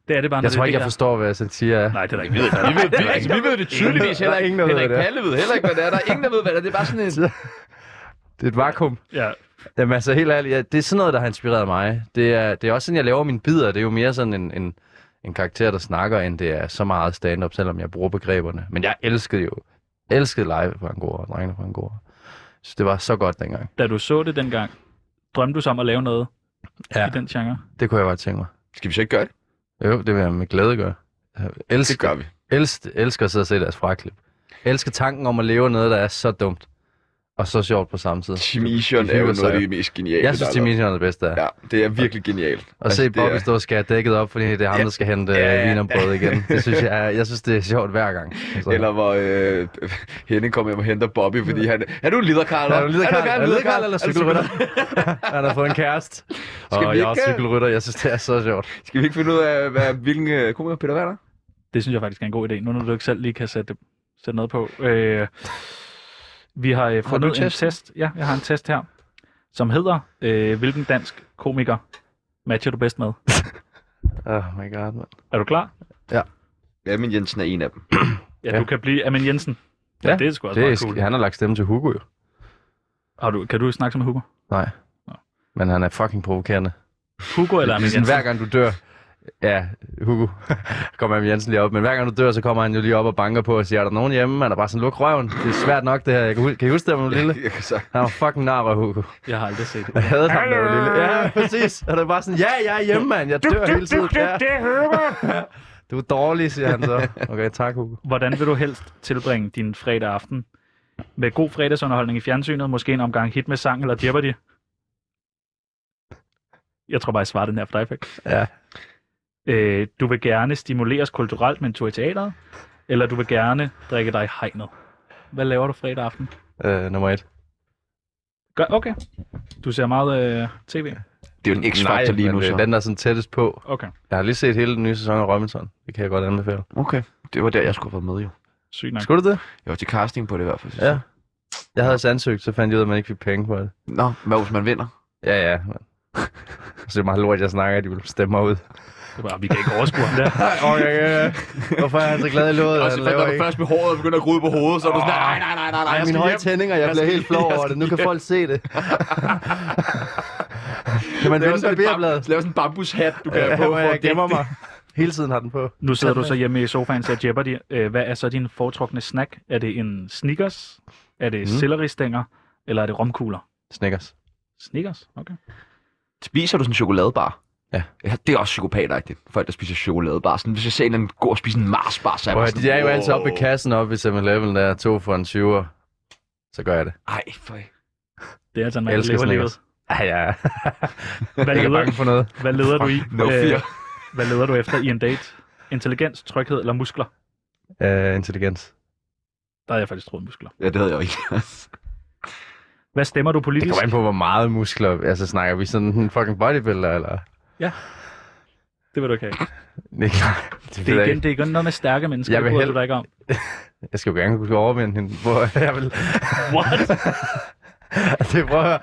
Det er det bare, når Jeg det tror er ikke, jeg DR. forstår, hvad satire er. Nej, det er der Vi ikke. ved, vi, ved, vi, altså, vi ved det tydeligvis Der er heller ikke. ingen, der ved, Henrik hvad det er. Palle ved heller ikke, hvad det er. Der er ingen, der ved, hvad det er. Det er bare sådan en... Det er et vakuum. Ja, Jamen altså helt ærligt, ja, det er sådan noget, der har inspireret mig. Det er, det er også sådan, jeg laver mine bidder. Det er jo mere sådan en, en, en karakter, der snakker, end det er så meget stand-up, selvom jeg bruger begreberne. Men jeg elskede jo, elskede live på Angora, og drengene på Angora. Så det var så godt dengang. da du så det dengang, drømte du så om at lave noget Ja. i den genre? Det kunne jeg godt tænke mig. Skal vi så ikke gøre det? Jo, det vil jeg med glæde gøre. Jeg Det elsker, gør vi. elsker, elsker at sidde og se deres fraklip. Elsker tanken om at leve noget, der er så dumt. Og så sjovt på samme tid. Team Ision De er jo hygger sig noget af det mest geniale. Jeg synes, der Jimmy er er det bedste. lavet. Ja, det er virkelig genialt. Og se Altså, det er- Bobby stå og skære dækket op, fordi det er ham, der skal hente Ja, ja. ja, vinerbrød igen. Det synes jeg, er- jeg synes, det er sjovt hver gang. Altså. Så. Eller hvor øh, Henning kommer hjem og henter Bobby, fordi han... Er du en liderkarl? er du liderkarl, gerne er du liderkarl eller Er du cykelrytter? Han har fået en kæreste. vi Og jeg er også ikke- øh- cykelrytter, jeg synes, det er så sjovt. Skal vi ikke finde ud af, hvad, hvilken øh, komiker Peter Werner? Det synes jeg faktisk er en god idé. Nu når du ikke selv lige kan sætte det, sætte noget på. Øh, vi har øh, du fundet en testen? test. Ja, jeg har en test her, som hedder, øh, hvilken dansk komiker matcher du bedst med? Oh my god, man. Er du klar? Ja, men Jensen er en af dem. Ja, Ja. du kan blive Amin Jensen. Ja, Ja, det er sgu også Det meget er, cool. cool. Han har lagt stemme til Hugo, jo. Har du, kan du snakke med Hugo? Nej. Men han er fucking provokerende. Hugo eller Amin Det er sådan, Jensen? Ligesom hver gang du dør, ja, Hugo, kommer Amin Jensen lige op, men hver gang du dør, så kommer han jo lige op og banker på og siger, er der nogen hjemme? Han er bare sådan, luk røven. Det er svært nok det her. Jeg kan, hu- kan I huske det, når du var lille? Jeg kan sagt. Han var fucking nar af Hugo. Jeg har aldrig set Jeg havde ham, da jeg var lille. Ja, præcis. Og det var bare sådan, ja, jeg er hjemme, mand. Jeg dør hele tiden. Ja. det, Hugo! Du er dårlig, siger han så. Okay, tak, Hugo. Hvordan vil du helst tilbringe din fredag aften? Med god fredagsunderholdning i fjernsynet, måske en omgang hit med sang eller Jeopardy? Jeg tror bare, jeg svarer den her for dig, Fik. Ja. Øh, du vil gerne stimuleres kulturelt med en tur i teateret, eller du vil gerne drikke dig i hegnet. Hvad laver du fredag aften? Øh, nummer et. Gør, okay. Du ser meget øh, tv. Det er jo en X-faktor lige men, nu, øh, så. Den der er sådan tættest på. Okay, Jeg har lige set hele den nye sæson af Robinson. Det kan jeg godt anbefale. Okay, det var der, jeg skulle have været med jo. sygt nok. Skulle du det? Jeg var til casting på det i hvert fald. synes Ja. jeg. Jeg havde altså ansøgt, så fandt jeg ud af, at man ikke fik penge for det. Nå, hvad hvis man vinder? Ja, ja. Men. Så det er meget lort, jeg snakker, at de vil stemme mig ud. Det var, vi kan ikke overskue ham der. Okay, ja, ja. Hvorfor er han så glad i lådet? Også fandt, Han laver når du ikke. først med håret og begynder at grude på hovedet, så er du sådan, nej, nej, nej, nej, nej, Ej, jeg mine skal høje hjem." tændinger, jeg bliver skal helt flov hjem, jeg over det. Nu skal kan folk se det. kan man Lav vinde sådan, en bam, barberbladet? lav sådan en bambushat, du kan have Ja, på, hvor for jeg at gemme gemmer mig. mig. Hele tiden har den på. Nu sidder du så hjemme i sofaen og ser Jeopardy. Øh, Hvad er så din foretrukne snack? Er det en Snickers? Er det mm. selleristænger? Eller er det romkugler? Snickers. Snickers? Okay. Spiser du sådan en chokoladebar? Ja. ja. Det er også psykopatagtigt, folk der spiser chokoladebar. Sådan, hvis jeg ser en eller anden gå og spise en Marsbar, så er Hvor jeg de er jo altid oppe ved kassen oppe i 7-Eleven, der er to for en 20'er. Så gør jeg det. Ej, for... Det er altså en Jeg mand, der elsker lever livet. Snickers. Ej, ja. Jeg Hvad er ikke leder, bange for noget. hvad leder du i? Øh, No fear. Øh. hvad leder du efter i en date? Intelligens, tryghed eller muskler? Øh, intelligens. Der havde jeg faktisk troet muskler. Ja, det havde jeg jo ikke. Hvad stemmer du Det politisk? kommer an på, hvor meget muskler... Altså, snakker vi sådan en fucking bodybuilder, eller... Det vil du ikke have. Nej, nej, det, Det ved er, jeg igen, ikke. det er igen noget med stærke mennesker. Jeg Jeg vil vil hel- du dig ikke om. Jeg skal jo gerne kunne overvinde hende. Hvor jeg vil... What? det prøver...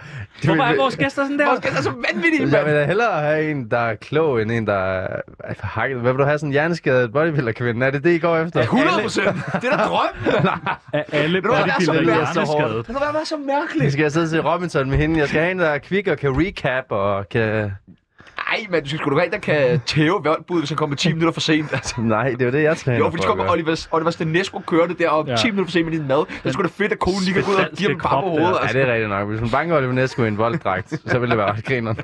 Hvorfor er vores gæster sådan der? Det er så vanvittigt, Jeg vil da hellere have en, der er klog, end en, der er er hakket. Hvad vil du have, sådan en hjerneskadet bodybuilder-kvinde? Er det det, I går efter? 100 procent. Det er da drømmen. Er alle du, hvad, der er så bodybuildere værd, så hårdt. hjerneskadet? Det var så Jeg mærkeligt. skal sidde til Robinson med hende. Jeg skal have en, der er kvik og kan recap og kan... Ej, men du skal sgu da være en, der kan tæve voldbud, hvis han kommer 10 minutter for sent. Altså. Nej, det er jo det, jeg træner Jo, fordi så for at kommer gøre. Oliver, Oliver Stanesco kørte der, og Ja. 10 minutter for sent med din mad. Det er sgu da fedt, at konen lige kan gå ud og give ham en Spedalske par på krop hovedet. der. Ja, Altså. det er rigtigt nok. Hvis man banker Oliver Nesco i en volddragt, så ville det være ret grineren.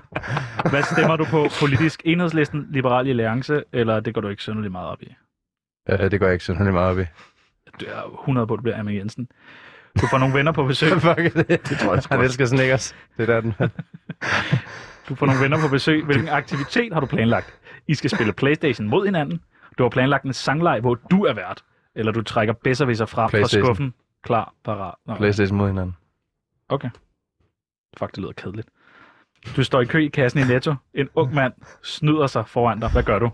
Hvad stemmer du på politisk? Enhedslisten, Liberal Alliance, eller det går du ikke synderligt meget op i? Øh, det går jeg ikke synderligt meget op i. Det er 100 på, det bliver Amin Jensen. Du får nogle venner på besøg. Fuck er det. Det tror jeg sgu også. Han elsker Snickers. Det er der, den Du får nogle venner på besøg. Hvilken aktivitet har du planlagt? I skal spille Playstation mod hinanden. Du har planlagt en sangleg, hvor du er vært. Eller du trækker bedserviser frem fra PlayStation. skuffen. Klar, parat. Nå, Playstation mod hinanden. fuck, det lyder kedeligt. Du står i kø i kassen i Netto. En ung mand snyder sig foran dig. Hvad gør du?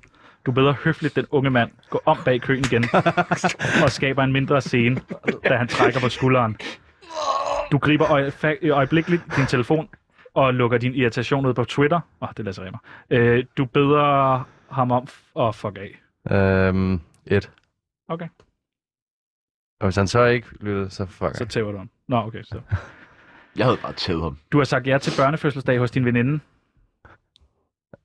Du beder høfligt den unge mand. Gå om bag køen igen. Og skaber en mindre scene, da han trækker på skulderen. Du griber øje, fa- øjeblikkeligt din telefon og lukker din irritation ud på Twitter. Åh, oh, det lader sig af mig. Øh, du beder ham om at oh, fuck af. Øhm, et. Okay. Og hvis han så ikke lyttede, så fuck. Så tæver du ham. Nå, okay. Så. Altså, Jeg havde bare tævet ham. Du har sagt ja til børnefødselsdag hos din veninde.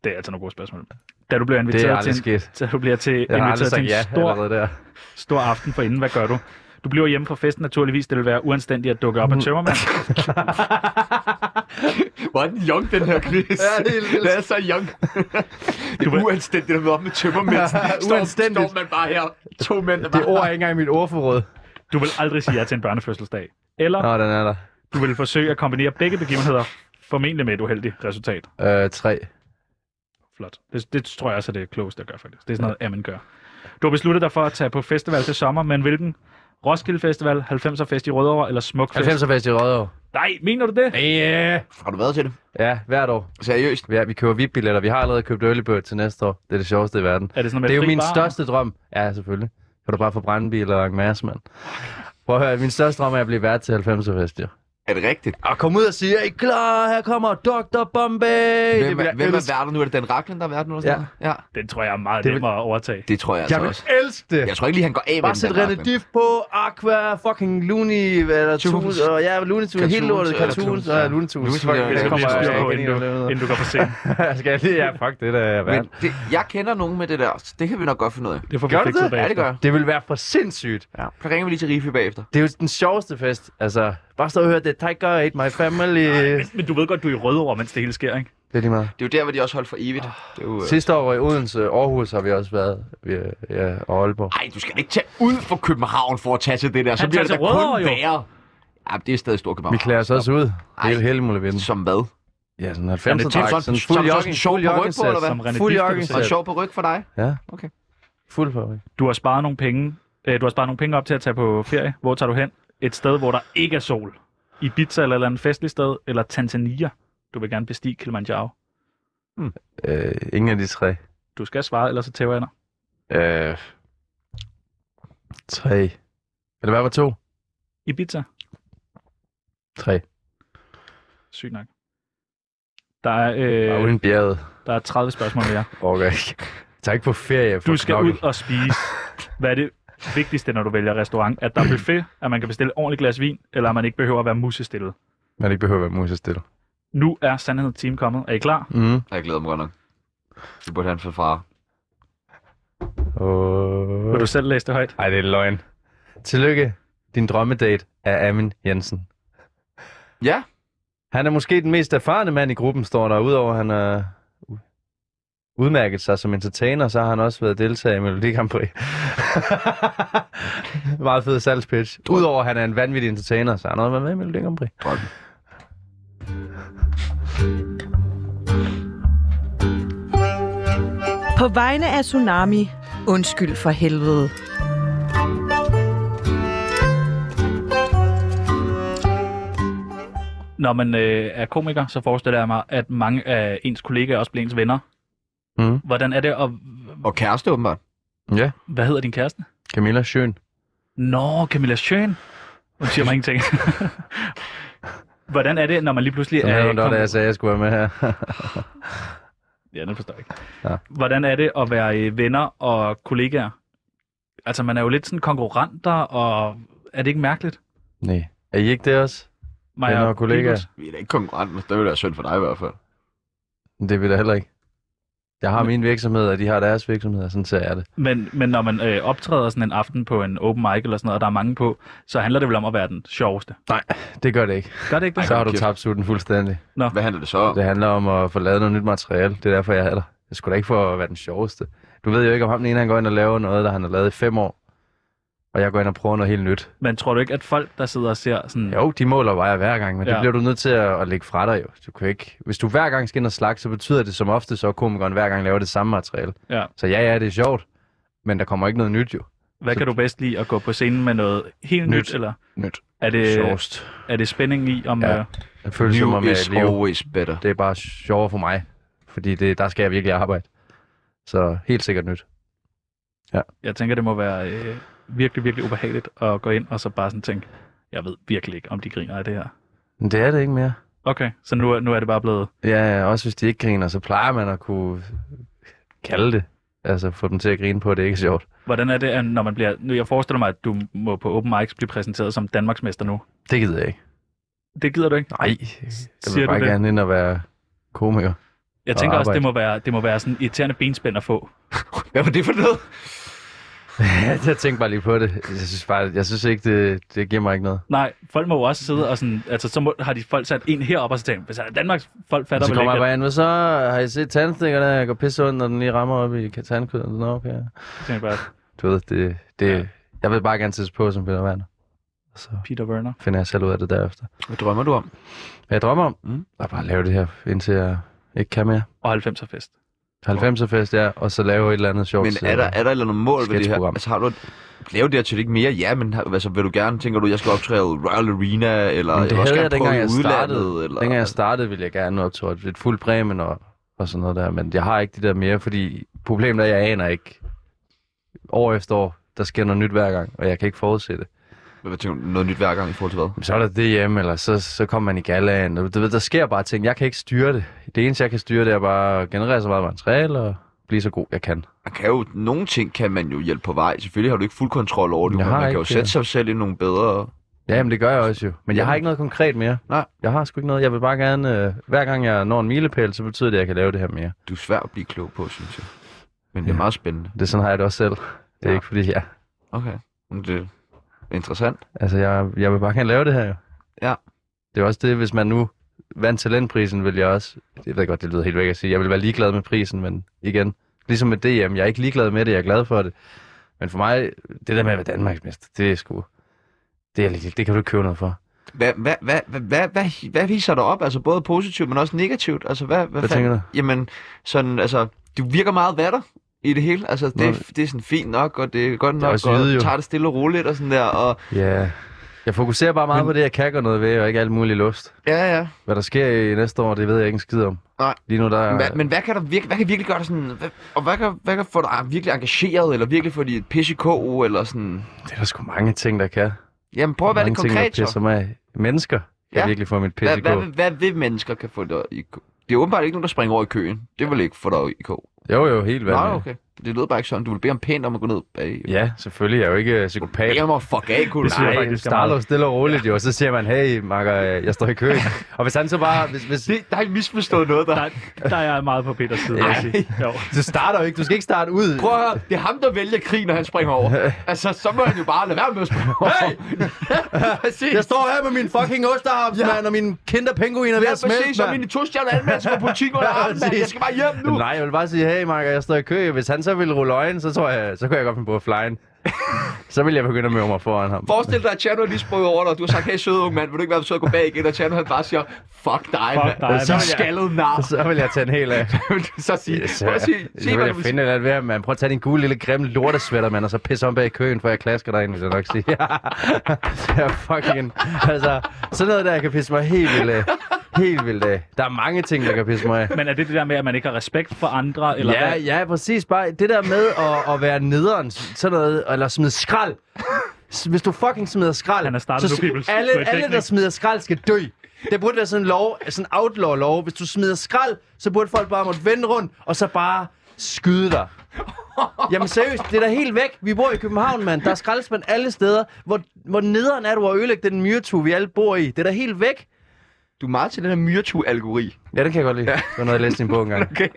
Det er altså nogle gode spørgsmål. Da du bliver det er inviteret til aldrig en sket. Så du bliver til, Jeg har inviteret aldrig til en sagt ja stor, allerede der. stor aften for inden. Hvad gør du? Du bliver hjemme fra festen naturligvis. Det vil være uanstændigt at dukke op Mm. af tømmermand. Hvor er den young, den her quiz? Ja, det er helt vildt. Den er så young. det Du er ved- uanstændigt at møde op med tømmermænd. Uanstændigt. Står, står man bare her. To mænd, der Det bare... ord er ikke engang i mit ordforråd. Du vil aldrig sige ja til en børnefødselsdag. Eller Nå, den er der. du vil forsøge at kombinere begge begivenheder formentlig med et uheldigt resultat. Øh, tre. Flot. Det, det tror jeg også er det klogeste at gøre, faktisk. Det er sådan noget, Amen gør. Du har besluttet dig for at tage på festival til sommer, men hvilken? Roskilde Festival, 90'er Fest i Rødovre eller Smukfest? 90 er fest i Rødovre. Nej, mener du det? Yeah. Har du været til det? Ja, hvert år. Seriøst? Ja, vi køber VIP-billetter. Vi har allerede købt early bird til næste år. Det er det sjoveste i verden. Er det sådan noget med Det er jo fri min bar? største drøm. Ja, selvfølgelig. Kan du bare få brandbil og en masse, mand? Prøv at høre, min største drøm er at blive vært til 90'er-fest, jo. Er det rigtigt? Og kom ud og sige, er I klar? Her kommer Dr. Bombay! Hvem, vil er, jeg hvem er elske. værter nu? Er det Dan Racklin, der er værter nu? Eller Ja. sådan noget? ja. Den tror jeg er meget Det vil- nemmere at overtage. Det tror jeg altså Jeg vil også. elske det! Jeg tror ikke lige, han går af med Bare den sæt Dan René Rachlin. Diff på, Aqua, fucking Looney, hvad er der, Tunes. Tunes, og ja, Looney Tunes, helt Cartoons, lortet, ja, Cartoons, Tunes, og ja. Looney Tunes. Looney Fuck, Tunes, ja, det det Det kommer kommer bliver styr lige styr jeg på, ikke ind inden du, inden i. du går på scenen. Skal jeg lige, ja, fuck det der, Men mand. det, jeg kender nogen med det der, så det kan vi nok godt finde ud af. Det får vi Gør du fikset det? bagefter. Ja, det gør jeg. Det vil være for sindssygt. Ja. Så ringer vi lige til Rifi bagefter. Det er jo den sjoveste fest. Altså, bare stå og høre, det Tiger ate my family. Men du ved godt, du er i Rødovre, mens det hele sker, ikke? Det er lige meget. Det er jo der, hvor de også holdt for evigt. Det er jo, øh... Sidste år var i Odense, Aarhus har vi også været, vi, ja, og Aalborg. Ej, du skal ikke tage ud for København for at tage til det der. Så Han bliver det tager da til Rødovre, kun jo. værre. Ja, det er stadig stor København. Vi klæder os også ud. Hele Ej. hele muligheden. Som hvad? Ja, sådan Jamen, 90 det er Som, dreng. sådan, Sådan som, fuld sådan en jogging, sjov fuld på ryg på, joggingsæt. eller hvad? Som René Fuld Dif, jogging. Og producerer. sjov på ryg for dig? Ja. Okay. Fuld fabrik. Du har sparet nogle penge. øh, Du har sparet nogle penge op til at tage på ferie. Hvor tager du hen? Et sted, hvor der ikke er sol. Ibiza eller et eller andet festligt sted. Eller Tanzania. Du vil gerne bestige Kilimanjaro. Øh, ingen af de tre. Du skal svare, ellers så tæver jeg dig. Øh, tre. Eller hvad var to? Ibiza. Tre. Sygt nok. Der er, Øh. øh, Uden bjerget. der er 30 spørgsmål mere. Orker ikke. Tag ikke på ferie. for Du skal knokkel. ud og spise. Hvad er det vigtigste, når du vælger restaurant? At der er buffet, at man kan bestille ordentligt glas vin, eller at man ikke behøver at være musestillet. Man ikke behøver at være musestille. Nu er sandheden team kommet. Er I klar? Mm. Jeg glæder mig godt nok. Du burde have en fanfare. Oh. Vil du selv læse det højt? Ej, det er løgn. Tillykke. Din drømmedate er Amin Jensen. Ja. Han er måske den mest erfarne mand i gruppen, står der. Udover at han har udmærket sig som entertainer, så har han også været deltager i Melodi Grand Prix. Meget fed salgspitch. Udover at han er en vanvittig entertainer, så har han også været med i Melodi Grand Prix. Drøm. På vegne af Tsunami, undskyld for helvede. når man øh, er komiker, så forestiller jeg mig, at mange af ens kollegaer også bliver ens venner. Mhm. Hvordan er det at... Og kæreste, åbenbart. Ja, Hvad hedder din kæreste? Camilla Schøn. Nå, Camilla Schøn. Hun siger mig ingenting. Hvordan er det, når man lige pludselig Som havde hun da, kom- da jeg sagde, at jeg skulle være med her. Ja, den forstår jeg ikke. Ja. Hvordan er det at være øh, venner og kollegaer? Altså, man er jo lidt sådan konkurrenter, og er det ikke mærkeligt? Nej. Er I ikke det også? Maja Venner og kollegaer. Dybus? Vi er da ikke konkurrent, men det vil være synd for dig i hvert fald. Det er vi da heller ikke. Jeg har min virksomhed, og de har deres virksomhed, og sådan ser jeg det. Men, men når man øh, optræder sådan en aften på en open mic eller sådan noget, og der er mange på, så handler det vel om at være den sjoveste. Det gør det ikke. Gør det ikke det? Så har du kæft. tabt sutten fuldstændig. Hvad handler det så om? Det handler om at få lavet noget nyt materiale. Det er derfor, jeg er der. Jeg skulle da ikke for at være den sjoveste. Du ved jo ikke, om ham den ene han går ind og laver noget, der han har lavet i fem år. Og jeg går ind og prøver noget helt nyt. Men tror du ikke, at folk, der sidder og ser sådan... Jo, de måler vejer hver gang, men Mm. ja. det Ja. bliver du nødt til at, at lægge fra dig jo. Du kan ikke... Hvis du hver gang skal ind og slagte, så betyder det som ofte, så at komikeren hver gang laver det samme materiale. Ja. Så ja, ja, det er sjovt, men der kommer ikke noget nyt jo. Hvad kan du bedst lide at gå på scenen med noget helt nyt, Nyt. eller Nyt. er det, Sjovst. er det spænding i, om... Ja. Ja. Øh, Det føles som om, New jeg is lever. always better. Det er bare sjovere for mig, fordi det, der skal jeg virkelig arbejde. Så helt sikkert nyt. jeg tænker, det må være øh, virkelig, virkelig ubehageligt at gå ind og så bare sådan tænke, jeg ved virkelig ikke, om de griner af det her. Men det er det ikke mere. Okay, så nu, er- nu er det bare blevet... Ja, også hvis de ikke griner, så plejer man at kunne kalde det. Altså få dem til at grine på, at det ikke er sjovt. Hvordan er det, at når man bliver... Nu, jeg forestiller mig, at du må på open mics blive præsenteret som Danmarksmester nu. Det gider jeg ikke. Det gider du ikke. Nej, jeg Siger vil du bare det? gerne ind og være komiker. Jeg Og tænker også, det arbejde. må være, det må være sådan irriterende benspænd at få. Hvad var det for noget? jeg tænkte bare lige på det. Jeg synes, bare, jeg synes ikke, det, det giver mig ikke noget. Nej, folk må jo også sidde og sådan... Altså, så må, har de folk sat en herop og så tænkt, hvis Danmarks folk Og fatter så vel kommer jeg ikke, bare ind, "Hvad så har I set tandstikkerne? Jeg går pisse ondt, når den lige rammer op i tandkødet. Nå, okay. at, tænker jeg bare, Du ved, det, det, Ja. jeg vil bare gerne sættes på som Peter Werner. Og Så Peter Werner. finder jeg selv ud af det derefter. Hvad drømmer du om? Hvad jeg drømmer om? Mm. Jeg bare lave det her, indtil jeg ikke kan mere. Og 90'er fest. 90'er fest, ja, og så lave et eller andet sjovt. Men er der, er der et eller andet mål ved det her? øh, sketchprogram. Altså har du et, lavet det her til ikke mere? Ja, men har- altså, vil du gerne, tænker du, jeg skal optræde i Royal Arena, eller jeg Jamen, det vil også havde gerne jeg, dengang prøve i jeg udlandet? startede. Eller, Dengang jeg startede, ville jeg gerne optræde lidt fuld præmien og, og sådan noget der, men jeg har ikke det der mere, fordi problemet er, at jeg aner ikke år efter år. der sker noget nyt hver gang, og jeg kan ikke forudse det. Hvad betyder noget nyt hver gang i forhold til hvad? Men så er der det hjemme, eller så, så kommer man i galaen. og Du ved, der sker bare ting. Jeg kan ikke styre det. Det eneste, jeg kan styre, det er bare at generere så meget materiale og blive så god, jeg kan. Man kan jo, nogle ting kan man jo hjælpe på vej. Selvfølgelig har du ikke fuld kontrol over det, Jeg men har man kan ikke jo det. sætte sig selv i nogle bedre... Ja, men det gør jeg også jo. Men jeg har ikke noget konkret mere. Nej. Jeg har sgu ikke noget. Jeg vil bare gerne... Øh, hver gang jeg når en milepæl, så betyder det, at jeg kan lave det her mere. Du er svær at blive klog på, synes jeg. Men det er Ja. meget spændende. Det er sådan har jeg det også selv. Det er Ja. ikke fordi, jeg... Okay. Men det er interessant. Altså, jeg, jeg vil bare gerne lave det her jo. Ja. Det er også det, hvis man nu vandt talentprisen, vil jeg også... Jeg ved godt, det lyder helt væk at sige. Jeg vil være ligeglad med prisen, men igen... Ligesom med DM, jeg er ikke ligeglad med det, jeg er glad for det. Men for mig, det der med at være Danmarksmester, det er sgu... Det, er, lidt- det kan du ikke købe noget for. Hvad, hvad, hvad, hvad, hvad, hvad, hvad viser dig op? Altså både positivt, men også negativt? Altså hvad, hvad, Hvad fanden- tænker du? Jamen, sådan, altså, du virker meget vatter i det hele. Altså, det, Nå, er- det er sådan fint nok, og det er godt nok, også og jyde, jo. tager det stille og roligt og sådan der. Og, Ja. Jeg fokuserer bare meget Men- men... på det, jeg kan gøre noget ved, og ikke alt muligt lust. ja, ja. Hvad der sker i næste år, det ved jeg ikke en skid om. Nej. Lige nu der er... Hva, men hvad kan, der virke, hvad kan virkelig gøre dig sådan... Hvad, og hvad kan, hvad kan få dig virkelig engageret, eller virkelig få dit pisse i KO, eller sådan... Det er der sgu mange ting, der kan. Jamen, prøv at være mange lidt ting, der konkret, så. pisser mig af. Mennesker kan Ja. ja. virkelig få mit pisse Hvad, i hvad, kog. hvad, hvad vil mennesker kan få dig i KO? Det er åbenbart ikke nogen, der springer over i køen. Det vil ikke få dig i KO. Jo, jo, helt Nej, vanvittigt. okay. Det lyder bare ikke sådan. Du vil bede om pænt om at gå ned bag. Ja, selvfølgelig. Jeg er jo ikke øh, psykopat. Bede om at fuck af, kunne Det siger jeg Nej, faktisk er starter jo meget. stille og roligt jo, og så siger man, hey, makker, øh, jeg står i kø. og hvis han så bare, hvis, hvis, Det, der har I misforstået noget, der... Der, der er jeg meget på Peters side, vil jeg Nej. sige. Jo. du starter jo ikke, du skal ikke starte ud. Prøv at høre, det er ham, der vælger krig, når han springer over. Altså, så må han jo bare lade være med at springe over. Hey! præcis. Jeg står her med min fucking osterhaps, ja. mand, og mine kinderpenguiner ved Ja, at præcis. smelte, Så mine mand. to stjerner anmeldelser fra politikken under Ja, armen, mand. Jeg præcis. skal bare hjem nu. Nej, jeg vil bare sige, hey, makker, jeg står i kø. Hvis han så ville rulle øjen, så tror jeg, så kunne jeg godt finde på at flyen. så vil jeg begynde at møde mig foran ham. Forestil dig, at Tjerno lige sprøjt over dig, og du har sagt, hey søde unge mand, vil du ikke være sød at gå bag igen? Og Tjerno han bare siger, fuck dig, Fuck mand. dig, Så mand. skaldet nar. Så vil jeg tage en hel af. så sig, Så, prøv at sige, så sig, øh, vil hvad jeg du vil finde det ved, at man prøver at tage din gule lille grimme lortesvætter, mand, og så pisse om bag i køen, for jeg klasker dig ind, vil jeg nok sige. ja, fucking... Altså, sådan noget der, jeg kan pisse mig helt vildt af. Helt vildt af. Der er mange ting, der kan pisse mig af. Men er det det der med, at man ikke har respekt for andre? Eller Ja, hvad? ja, præcis. Bare det der med at, at være nederen, sådan noget, eller smide skrald. S- Hvis du fucking smider skrald, Han har startet så nu, Peoples, alle, på et alle, der dækning. smider skrald, skal dø. Det burde være sådan en lov, sådan en outlaw-lov. Hvis du smider skrald, så burde folk bare måtte vende rundt, og så bare skyde dig. Jamen seriøst, det er da helt væk. Vi bor i København, mand. Der er skraldespand alle steder. Hvor, hvor nederen er du at ødelægge den myretue, vi alle bor i? Det er da helt væk. Du er meget til den her myretu-algori. Ja, den kan jeg godt lide. Det var noget, jeg læste i en bog engang. okay.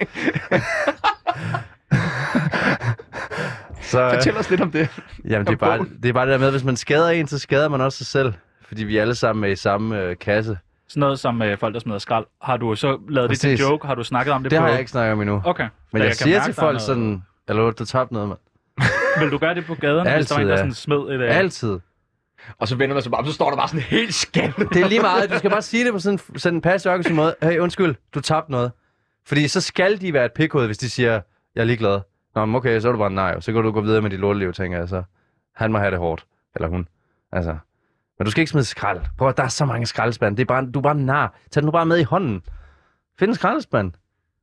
så, øh, Fortæl os lidt om det. Jamen, det er, bare, det er bare det der med, hvis man skader en, så skader man også sig selv. Fordi vi er alle sammen med i samme øh, kasse. Det, Sådan noget som øh, folk, der smider skrald. Har du så lavet det Præcis. til en joke? Har du snakket om det, det på... har jeg ikke snakket om endnu. Okay. Okay. Da Men jeg, jeg kan siger mærke, til der er folk noget. sådan, eller du tabte noget, mand. Vil du gøre det på gaden, hvis der Altid, var en, der ja. sådan smed et... Ja. øh, Altid. Og så vender man sig bare, om, så står der bare sådan helt skaldet. Det er lige meget. Du skal bare sige det på sådan, sådan en passiv måde. Hey, undskyld, du tabte noget. Fordi så skal de være et pikhoved, hvis de siger, jeg er ligeglad. Nå, men okay, så er du bare en nej. Så kan du gå videre med dit lorteliv, tænker jeg så. Han må have det hårdt. Eller hun. Altså. Men du skal ikke smide skrald. Prøv at- der er så mange skraldespande. Det er bare, du er bare en nar. Tag den nu bare med i hånden. Find en skraldespand.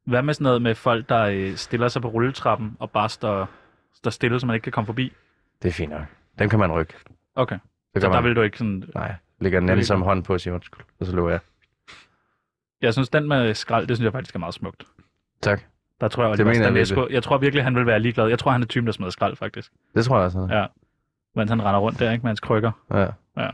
Hvad med sådan noget med folk, der øh, stiller sig på rulletrappen og bare står, står stille, så man ikke kan komme forbi? Det er fint nok. Dem kan man rykke. Okay. Det Så gør der man. vil du ikke sådan... Nej, lægger den Det anden vil- som hånd på og siger undskyld. Og så løber jeg. Jeg synes, den med skrald, det synes jeg faktisk er meget smukt. Tak. Der tror jeg, Det Oliver mener jeg Stanesco, jeg tror virkelig, han vil være ligeglad. Jeg tror, han er typen, der smider skrald, faktisk. Det tror jeg også. han er. Mens han render rundt der, ikke? Med hans krykker. Ja. Ja.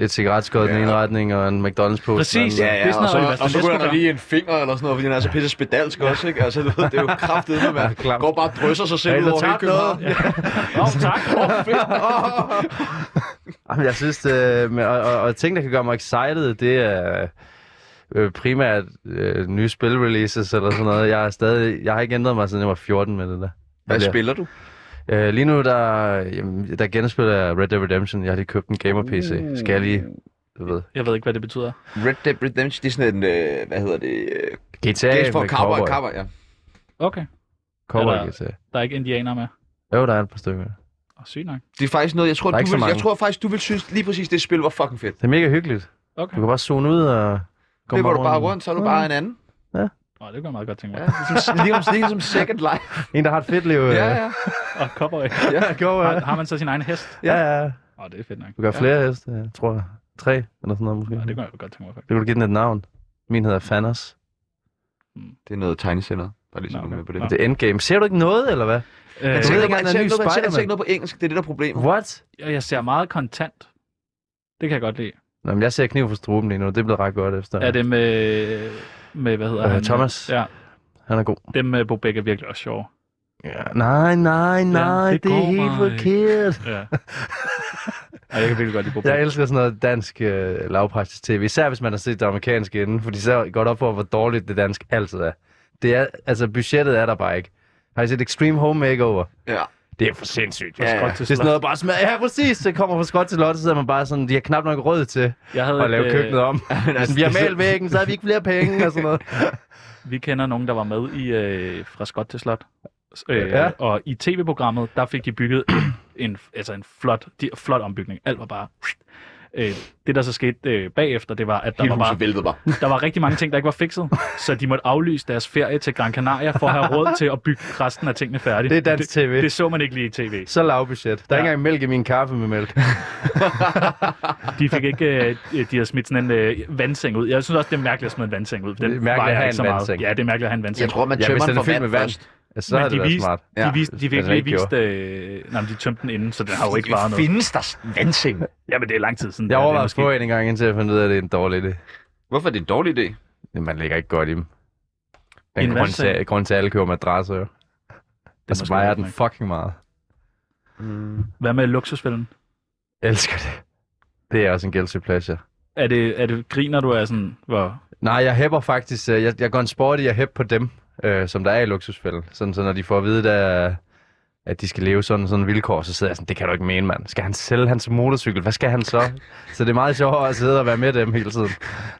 Et cigaretskål i den ene retning, og en McDonald's på. øh, Præcis. Ja. Ja, ja, Det er sådan og noget, så- Oliver og så Stanesco ryger der gør. lige en finger eller sådan noget, fordi han er så pisse spedalsk også, ikke? Altså, du ved, det er jo kraftedet med, man klamt. går bare og drysser sig selv Hey, ud der over hele tabte København. Ja. Åh, oh, tak. Jamen, jeg synes, det, øh, men- og, og, og ting, der kan gøre mig excited, det er øh, primært øh, nye spilreleases eller sådan noget. Jeg, er stadig, jeg har ikke ændret mig, siden jeg var 14 med det der. Hvad Ja. spiller du? Øh, lige nu, der, jamen, der genspiller jeg Red Dead Redemption. Jeg har lige købt en gamer-PC. Skal jeg lige... Du ved. Jeg ved ikke, hvad det betyder. Red Dead Redemption, det er sådan en, øh, hvad hedder det? Øh, GTA Games for med Cowboy, cowboy. Cowboy, ja. Okay. Cowboy Eller- GTA. Der er ikke indianere med. Jo, der er et par stykker. Åh, sygt nok. Det er faktisk noget, jeg tror, Der er du ikke så vil, jeg mange. tror faktisk, du vil synes lige præcis, det spil var fucking fedt. Det er mega hyggeligt. Du Okay. kan bare zone ud og... gå Det går du bare rundt. rundt, så er du bare en anden. Nå, det kunne jeg meget godt tænke mig. Ja, det er sådan, lige om, det er som second life. En, der har et fedt liv. Ja, ja. Og cowboy. ja. Go, Har, ja. har man så sin egen hest? ja, ja. Åh, det er fedt nok. Du kan have flere heste, ja, tror jeg. Tre eller sådan noget måske. Ja, det kunne jeg godt tænke mig, faktisk. Det kunne du give den et navn. Min hedder Fanners. Det er noget tegnesender. Der er lige sådan Nå, okay. okay. med på det. Nå. Nå. Det er Endgame. Ser du ikke noget, eller hvad? Øh, Jeg tænker ved ikke, ikke, jeg om der er ser en ny ikke noget- jeg ser- jeg ser Spider-Man. ikke noget på engelsk. Det er det, der er problemet. What? jeg jeg ser meget kontant. Det kan jeg godt lide. Nå, men jeg ser kniv for struben lige nu. Det er blevet ret godt efter. Er det med, med hvad hedder Øh, han? Thomas. Ja, Han er god. dem med Bobæk er virkelig også sjove. Ja. Nej, nej, nej. det det, det er går helt bare ikke. forkert. Ja. Og jeg kan virkelig godt lide Bobæk. Jeg elsker sådan noget dansk øh, lavpraktisk tv, især hvis man har set det amerikanske inden, fordi så går det op for, hvor dårligt det dansk altid er. Det er, altså budgettet er der bare ikke. Har I set Extreme Home Makeover? Ja. Det er for sindssygt. Ja, Fra ja. Skot Det er til sådan Slot. noget bare smag. Ja, præcis. Det kommer fra skot til lot, så sidder man bare sådan, de har knap nok råd til Jeg havde at lave et, øh, køkkenet om. Altså, vi har malet væggen, så har vi ikke flere penge og sådan noget. Vi kender nogen, der var med i øh, Fra Skot til Slot. S- Øh, ja. Ja. Og i tv-programmet, der fik de bygget en, en, altså en flot, de, flot ombygning. Alt var bare... Øh, det, der så skete øh, bagefter, det var, at der var, bare, væltede bare. der var rigtig mange ting, der ikke var fikset. Så de måtte aflyse deres ferie til Gran Canaria for at have råd til at bygge resten af tingene færdigt. Det er dansk tv. Det, det så man ikke lige i tv. Så lavbudget. Der er Ja. ikke engang mælk i min kaffe med mælk. De fik ikke, øh, de havde smidt sådan en øh, vandseng ud. Jeg synes også, det er mærkeligt at smide en vandseng ud. for Den Det er mærkeligt vejer at have ikke så en meget. vandseng. Ja, det er mærkeligt at have en vandseng. Jeg tror, man Ja, tømmer hvis den den er for fyldt vand med vand, først. ja, så men er det de været viste, smart. de, Ja, viste, de fik altså lige ikke vist, øh, nej, men de tømte den inden, så den har jo ikke varet noget. Findes der vandseng? Ja, men det er lang tid siden. det Jeg her, det er overvejede at få en engang, indtil jeg fandt ud af, at det er en dårlig idé. Hvorfor er det en dårlig idé? Man ligger ikke godt i dem. I en Den grund valgseng? til, grund til, at alle køber madrasser, jo. det Og så måske vejer ikke den nok. fucking meget. Hvad med luksusfælden? Jeg elsker det. Det er også en guilty pleasure. Er det, er det griner du af sådan, hvor... Nej, jeg hæpper faktisk... øh, Jeg, jeg går en sport i at hæppe på dem, øh, som der er i luksusfælden. Sådan, så når de får at vide, der, at de skal leve sådan sådan vilkår, så sidder jeg sådan, det kan du ikke mene, mand. Skal han sælge hans motorcykel? Hvad skal han så? Så det er meget sjovere at sidde og være med dem hele tiden.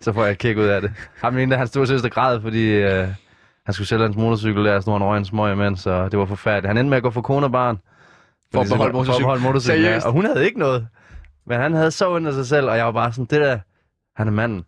Så får jeg et kick ud af det. Ham ene, hans store søster græd, fordi øh, han skulle sælge hans motorcykel der, så nu har han røg en smøg imens, så det var forfærdeligt. Han endte med at gå for kone og barn. For at Fordi så- beholde motorcyklen. For at beholde motorcyklen, Seriøst? ja. Og hun havde ikke noget. Men han havde så under sig selv, og jeg var bare sådan, det der, han er manden.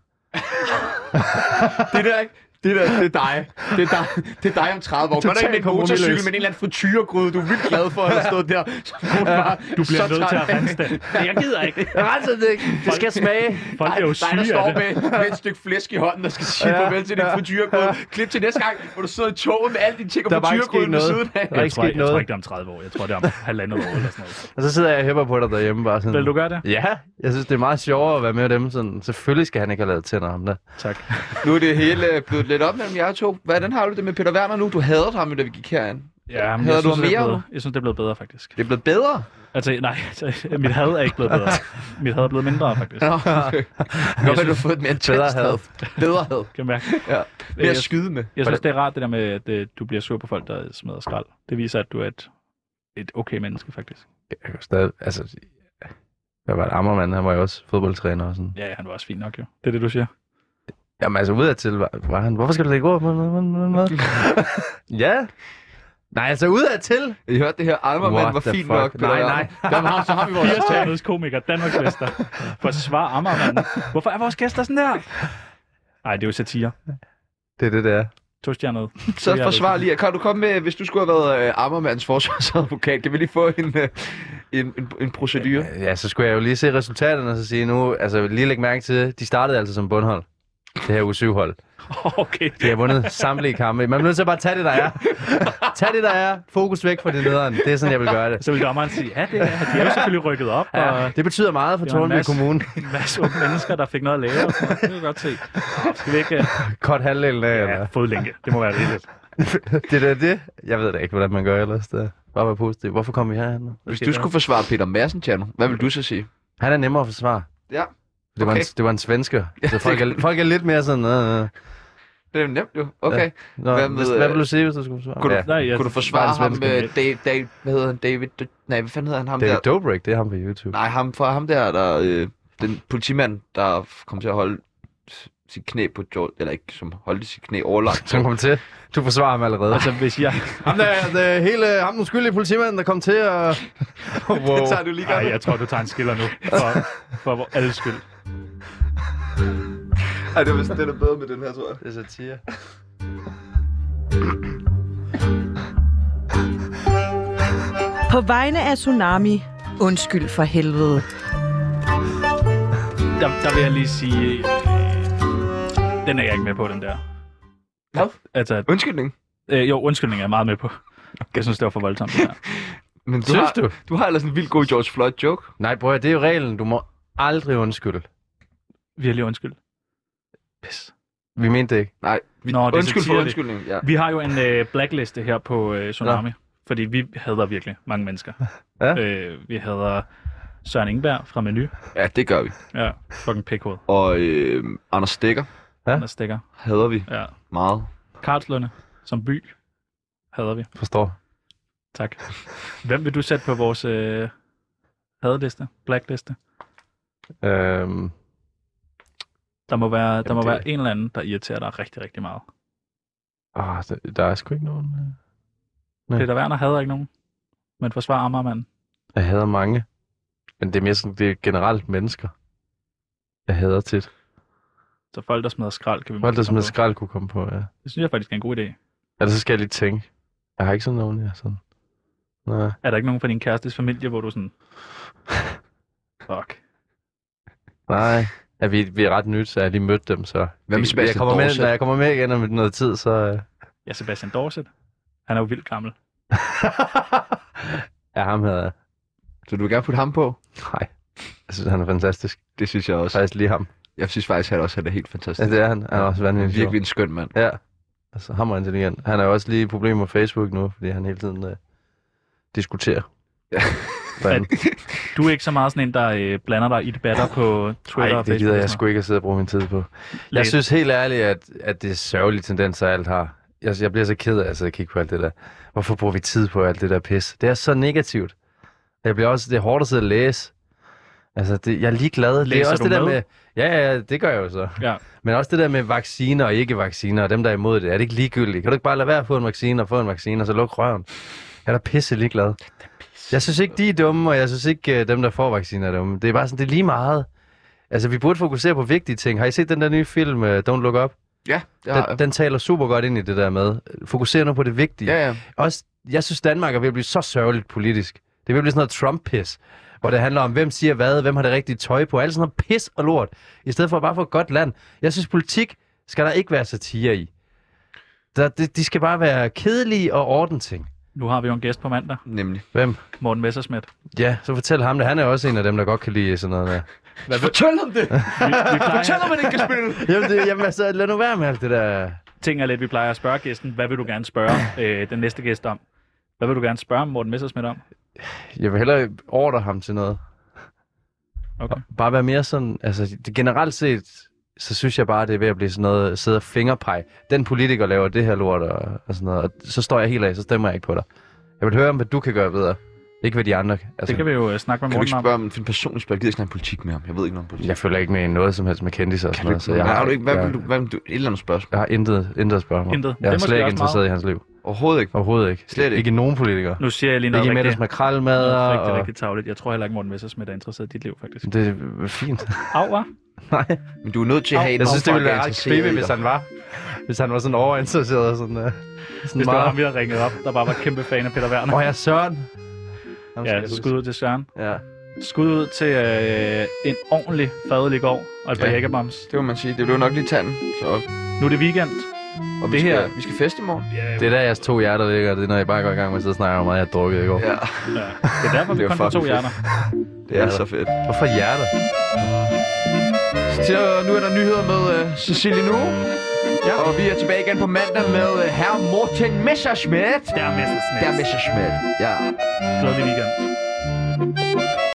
Det der, ikke? Det der, det er dig. Det er dig, det er dig om 30 år. Godt Totalt ikke med en kompromisløs. motorcykel, men en eller anden frityregryde. Du er vildt glad for at have stået der. Så du, bare, Du bliver så nødt til træt at af- rense den. Nej, Jeg gider ikke. Jeg renser det ikke. Det skal smage. Folk Ej, er jo dig, der syge står af det. med, med et stykke flæsk i hånden, der skal sige ja, farvel til din frityregryde. Klip til næste gang, hvor du sidder i toget med alle dine ting og Der er bare ikke frityregryden sket ved noget. siden af. Der er Jeg ikke tror, jeg, sket jeg tror ikke, noget. det er om 30 år. Jeg tror, det er om halvandet år eller sådan noget. Og så sidder jeg og hæpper på dig derhjemme bare sådan. Vil du gøre det? Ja, jeg synes, det er meget sjovere at være med dem. Sådan, selvfølgelig skal han ikke have lavet tænder ham der. Tak. Nu er det hele øh, blevet lidt op mellem jer to. Hvordan har du det med Peter Werner nu? Du hader ham, jo, da vi gik herind. Ja, men Hader jeg, du synes, det er mere? blevet, jeg synes, det er blevet bedre, faktisk. Det er blevet bedre. Altså, nej, mit had er ikke blevet bedre. Mit had er blevet mindre, faktisk. Nå, okay. Godt, at du har fået et mere Bedre intenst had. had. Bedre had. Kan jeg mærke. Ja. Mere jeg- at skyde med. Jeg synes, det er rart, det der med, at øh, du bliver sur på folk, der smider skrald. Det viser, at du er et, et okay menneske, faktisk. Jeg kan stadig, altså, jeg var et ammermand, han var jo også fodboldtræner og sådan. Ja, ja, han var også fin nok, jo. Det er det, du siger. Jamen altså udadtil var, var han, hvorfor skal du lægge ord på mig? ja. Nej, altså udadtil. I hørte det her, Almermand What var the fint fuck? nok. Peter Nej, Werner. Der var, så har vi vores tag. Firestjernets komiker, Danmarks mester. Forsvar Ammermanden. Hvorfor er vores gæster sådan der? Nej, det er jo satire. Det er det, der. Tostjernet. Så altså- forsvar lige. Kan du komme med, hvis du skulle have været øh, Ammermands forsvarsadvokat, kan vi lige få en, øh, en, en, en procedure? Ja, så skulle jeg jo lige se resultaterne og så sige nu, altså lige lægge mærke til, de startede altså som bundhold. Det her u 7 hold. Okay. De har vundet samtlige kampe. Man er nødt til at bare tage det, der er. Tag det, der er. Fokus væk fra det nederen. Det er sådan, jeg vil gøre det. Så vil dommeren sige, ja, det er, de har jo selvfølgelig rykket op, Ja, og det betyder meget for Det var en Tornby masse- Kommune. en masse unge mennesker, der fik noget at lave. Og sådan noget. Det kan jeg godt se. Nå, Skal vi ikke... øh, Kort halvdelen af, Ja, eller? fodlænke. Det må være rigtigt. Det der det. Jeg ved da ikke, hvordan man gør ellers. Det er bare være positiv. Hvorfor kom vi herhen nu? Hvis du skulle forsvare Peter Madsen, Tjerno, hvad vil du så sige? Han er nemmere at forsvare. Ja. Det var, en, Okay. det var en svensker. Så det- folk, er, folk er lidt mere sådan... Øh, øh. Det er jo nemt jo. Okay. Nå, Hvad hvad, med, hvis, øh, hvad vil du sige, hvis du skulle forsvare? Kunne, Ja. du, Nej, jeg- kunne du bare forsvare en ham, svensker. øh, Dave, Dave, hvad hedder han, David, nej, hvad fanden hedder han, ham David der, Dobrik, det er ham på YouTube. Nej, ham fra ham der, der øh, den politimand, der kom til at holde s- sit knæ på George, eller ikke, som holdte sit knæ overlagt. Som kom til. Du forsvarer ham allerede. Altså, hvis jeg... ham der, det, hele, ham den skyldige politimanden, der kom til at... wow. Så er du lige Nej, godt. jeg tror, du tager en skiller nu. For, for vor- alles skyld. Ej, det var, den er bedre med den her, tror jeg. Det er satire. På vegne af Tsunami, undskyld for helvede. Der, der vil jeg lige sige... øh, Den er jeg ikke med på, den der. Hvad? Altså, Undskyldning. øh, jo, undskyldning er jeg meget med på. Jeg synes, det var for voldsomt, det der. Men du Synes har, du? du har ellers en vild god George Floyd joke. Nej, bror, det er jo reglen. Du må aldrig undskylde. Virkelig undskyld. Pis. Vi mente det ikke. Nej, vi, Nå, det er undskyld for satire, det. undskyldning. Ja. Vi har jo en øh, blackliste her på øh, Tsunami, fordi vi hader virkelig mange mennesker. Ja. Øh, vi hader Søren Ingberg fra Menu. ja, det gør vi. Ja, fucking pikhoved. Og øh, Anders Stikker Ja. Ja. Der stikker. hader vi Ja. meget. Karlslunde som by hader vi. Forstår. Tak. Hvem vil du sætte på vores øh, hadeliste? Blackliste? Øhm, Der må være, der må det- være en eller anden, der irriterer dig rigtig, rigtig meget. ah, der, der er sgu ikke nogen. øh. Ja. Peter Werner hader ikke nogen, men forsvarer Amagermanden. Jeg hader mange. Men det er mere sådan, det er generelt mennesker. Jeg hader tit. Så folk, der smider skrald, kan vi Folk, der måske komme smider på. skrald, kunne komme på, ja. Det synes jeg faktisk er en god idé. Eller så skal jeg lige tænke. Jeg har ikke sådan nogen, jeg er sådan. Nej. Er der ikke nogen fra din kærestes familie, hvor du er sådan... Fuck. Nej. Ja, vi, vi er ret nyt, så jeg har lige mødt dem, så... Hvad med Vi- jeg Sebastian kommer med, Dorset? Når jeg kommer med igen om noget tid, så... øh, Ja, Sebastian Dorset. Han er jo vildt gammel. ja, ham havde jeg. Så du vil gerne putte ham på? Nej. Jeg synes, han er fantastisk. Det synes jeg også. Faktisk lige ham. Jeg synes faktisk, at han også han er helt Ja, fantastisk. det er han. Han er også Han er vanvittig. sjov. virkelig en skøn mand. Ja. Altså, ham er intelligent. Han er jo også lige i problemer med Facebook nu, fordi han hele tiden øh, diskuterer. Ja. Hvordan- Du er ikke så meget sådan en, der øh, blander dig i debatter på Twitter Nej, og det Facebook. gider jeg og sådan sgu ikke at sidde og bruge min tid på. Jeg Læs. synes helt ærligt, at, at det er sørgelige tendenser, alt har. Jeg, jeg bliver så ked af altså, at sidde og kigge på alt det der. Hvorfor bruger vi tid på alt det der pis? Det er så negativt. Jeg bliver også, det er hårdt at sidde og læse. Altså, det, jeg er ligeglad. det Læser er også du det der med? med... Ja, ja, det gør jeg jo så. noget. Ja. Men også det der med vacciner og ikke vacciner, og dem, der er imod det. Er det ikke ligegyldigt? Kan du ikke bare lade være at få en vaccine og få en vaccine, og så lukke røven? Jeg er da pisse ligeglad. Jeg synes ikke, de er dumme, og jeg synes ikke, øh, dem, der får vacciner, er dumme. Det er bare sådan, det er lige meget. Altså, vi burde fokusere på vigtige ting. Har I set den der nye film, øh, Don't Look Up? Ja, det har Den, jeg. den taler super godt ind i det der med. Fokuser nu på det vigtige. Ja, ja. Også, jeg synes, Danmark er ved at blive så sørgeligt politisk. Det er ved at blive sådan noget Trump-pis, hvor det handler om, hvem siger hvad, hvem har det rigtige tøj på, alt sådan noget pis og lort, i stedet for bare for et godt land. Jeg synes, politik skal der ikke være satire i. Der, de, de skal bare være kedelige og ordentlige ting. Nu har vi jo en gæst på mandag, Nemlig. Hvem? Morten Messerschmidt. Ja, så fortæl ham det. Han er også en af dem, der godt kan lide sådan noget der. Hvad ved, Fortæl ham det! vi, vi Fortæl ham, plejer, at det ikke kan spille! Jamen, det, jamen altså, lad nu være med alt det der. ting er lidt, vi plejer at spørge gæsten. Hvad vil du gerne spørge øh, den næste gæst om? Hvad vil du gerne spørge Morten Messerschmidt om? Jeg vil hellere ordre ham til noget. Okay. Bare være mere sådan, altså det, generelt set, så synes jeg bare, det er ved at blive sådan noget, sidde og fingerpege. Den politiker laver det her lort og, og sådan noget, og så står jeg helt af, så stemmer jeg ikke på dig. Jeg vil høre om, hvad du kan gøre bedre. Ikke hvad de andre kan. Altså, Det kan vi jo øh, snakke Kan med du Morten ikke om. spørge om en personlig spørg? Jeg gider ikke snakke politik med ham. Jeg ved ikke noget om politik. Jeg følger ikke med i noget som helst med kendtiser og sådan Kan du noget, ikke, så jeg har, du ikke, hvad, jeg, vil du, hvad vil du, et eller andet spørgsmål? jeg har intet, intet spørgsmål. Intet. Det Jeg er er måske slet ikke også interesseret i hans liv. Overhovedet ikke. Overhovedet ikke. Slet ikke. Ikke nogen politikere. Nu siger jeg lige noget Ikke Mettes rigtig, makralmad noget rigtig, og... rigtig tavligt. Jeg tror heller ikke, Morten Messerschmidt er interesseret i dit liv, faktisk. Det er fint. Au, hva? Nej. Men du er nødt til at have Jeg synes, det ville være ret interesseret i creepy, dig. hvis han var. Hvis han var sådan overinteresseret og sådan, uh, sådan Hvis det var ham, meget. vi havde ringet op, der bare var kæmpe fan af Peter Werner. Åh, jeg er Søren. Ham skal Ja, jeg skud ud til Søren. huske. Ja. Skud ud til øh, en ordentlig fadelig gård og et par Ja. jækkerbams. Det må man sige. Det blev nok lige tanden. Så, Nu er det weekend. og vi, Det det her- her... skal, vi skal feste i morgen. Det er der, jeres to hjerter ligger. Det er, når I bare går i gang med at sidde og snakke om, hvor meget jeg har drukket i går. Ja, Ja. Det er derfor, vi Det er kun får to fucking fedt. hjerner. det er så altså fedt. Hvorfor hjerter? Så nu er der nyheder med uh, Cecilie nu. Ja. Og vi er tilbage igen på mandag med uh, herr Morten Messerschmidt. Der er Messerschmidt. Der er Messerschmidt. Ja. Glædelig weekend.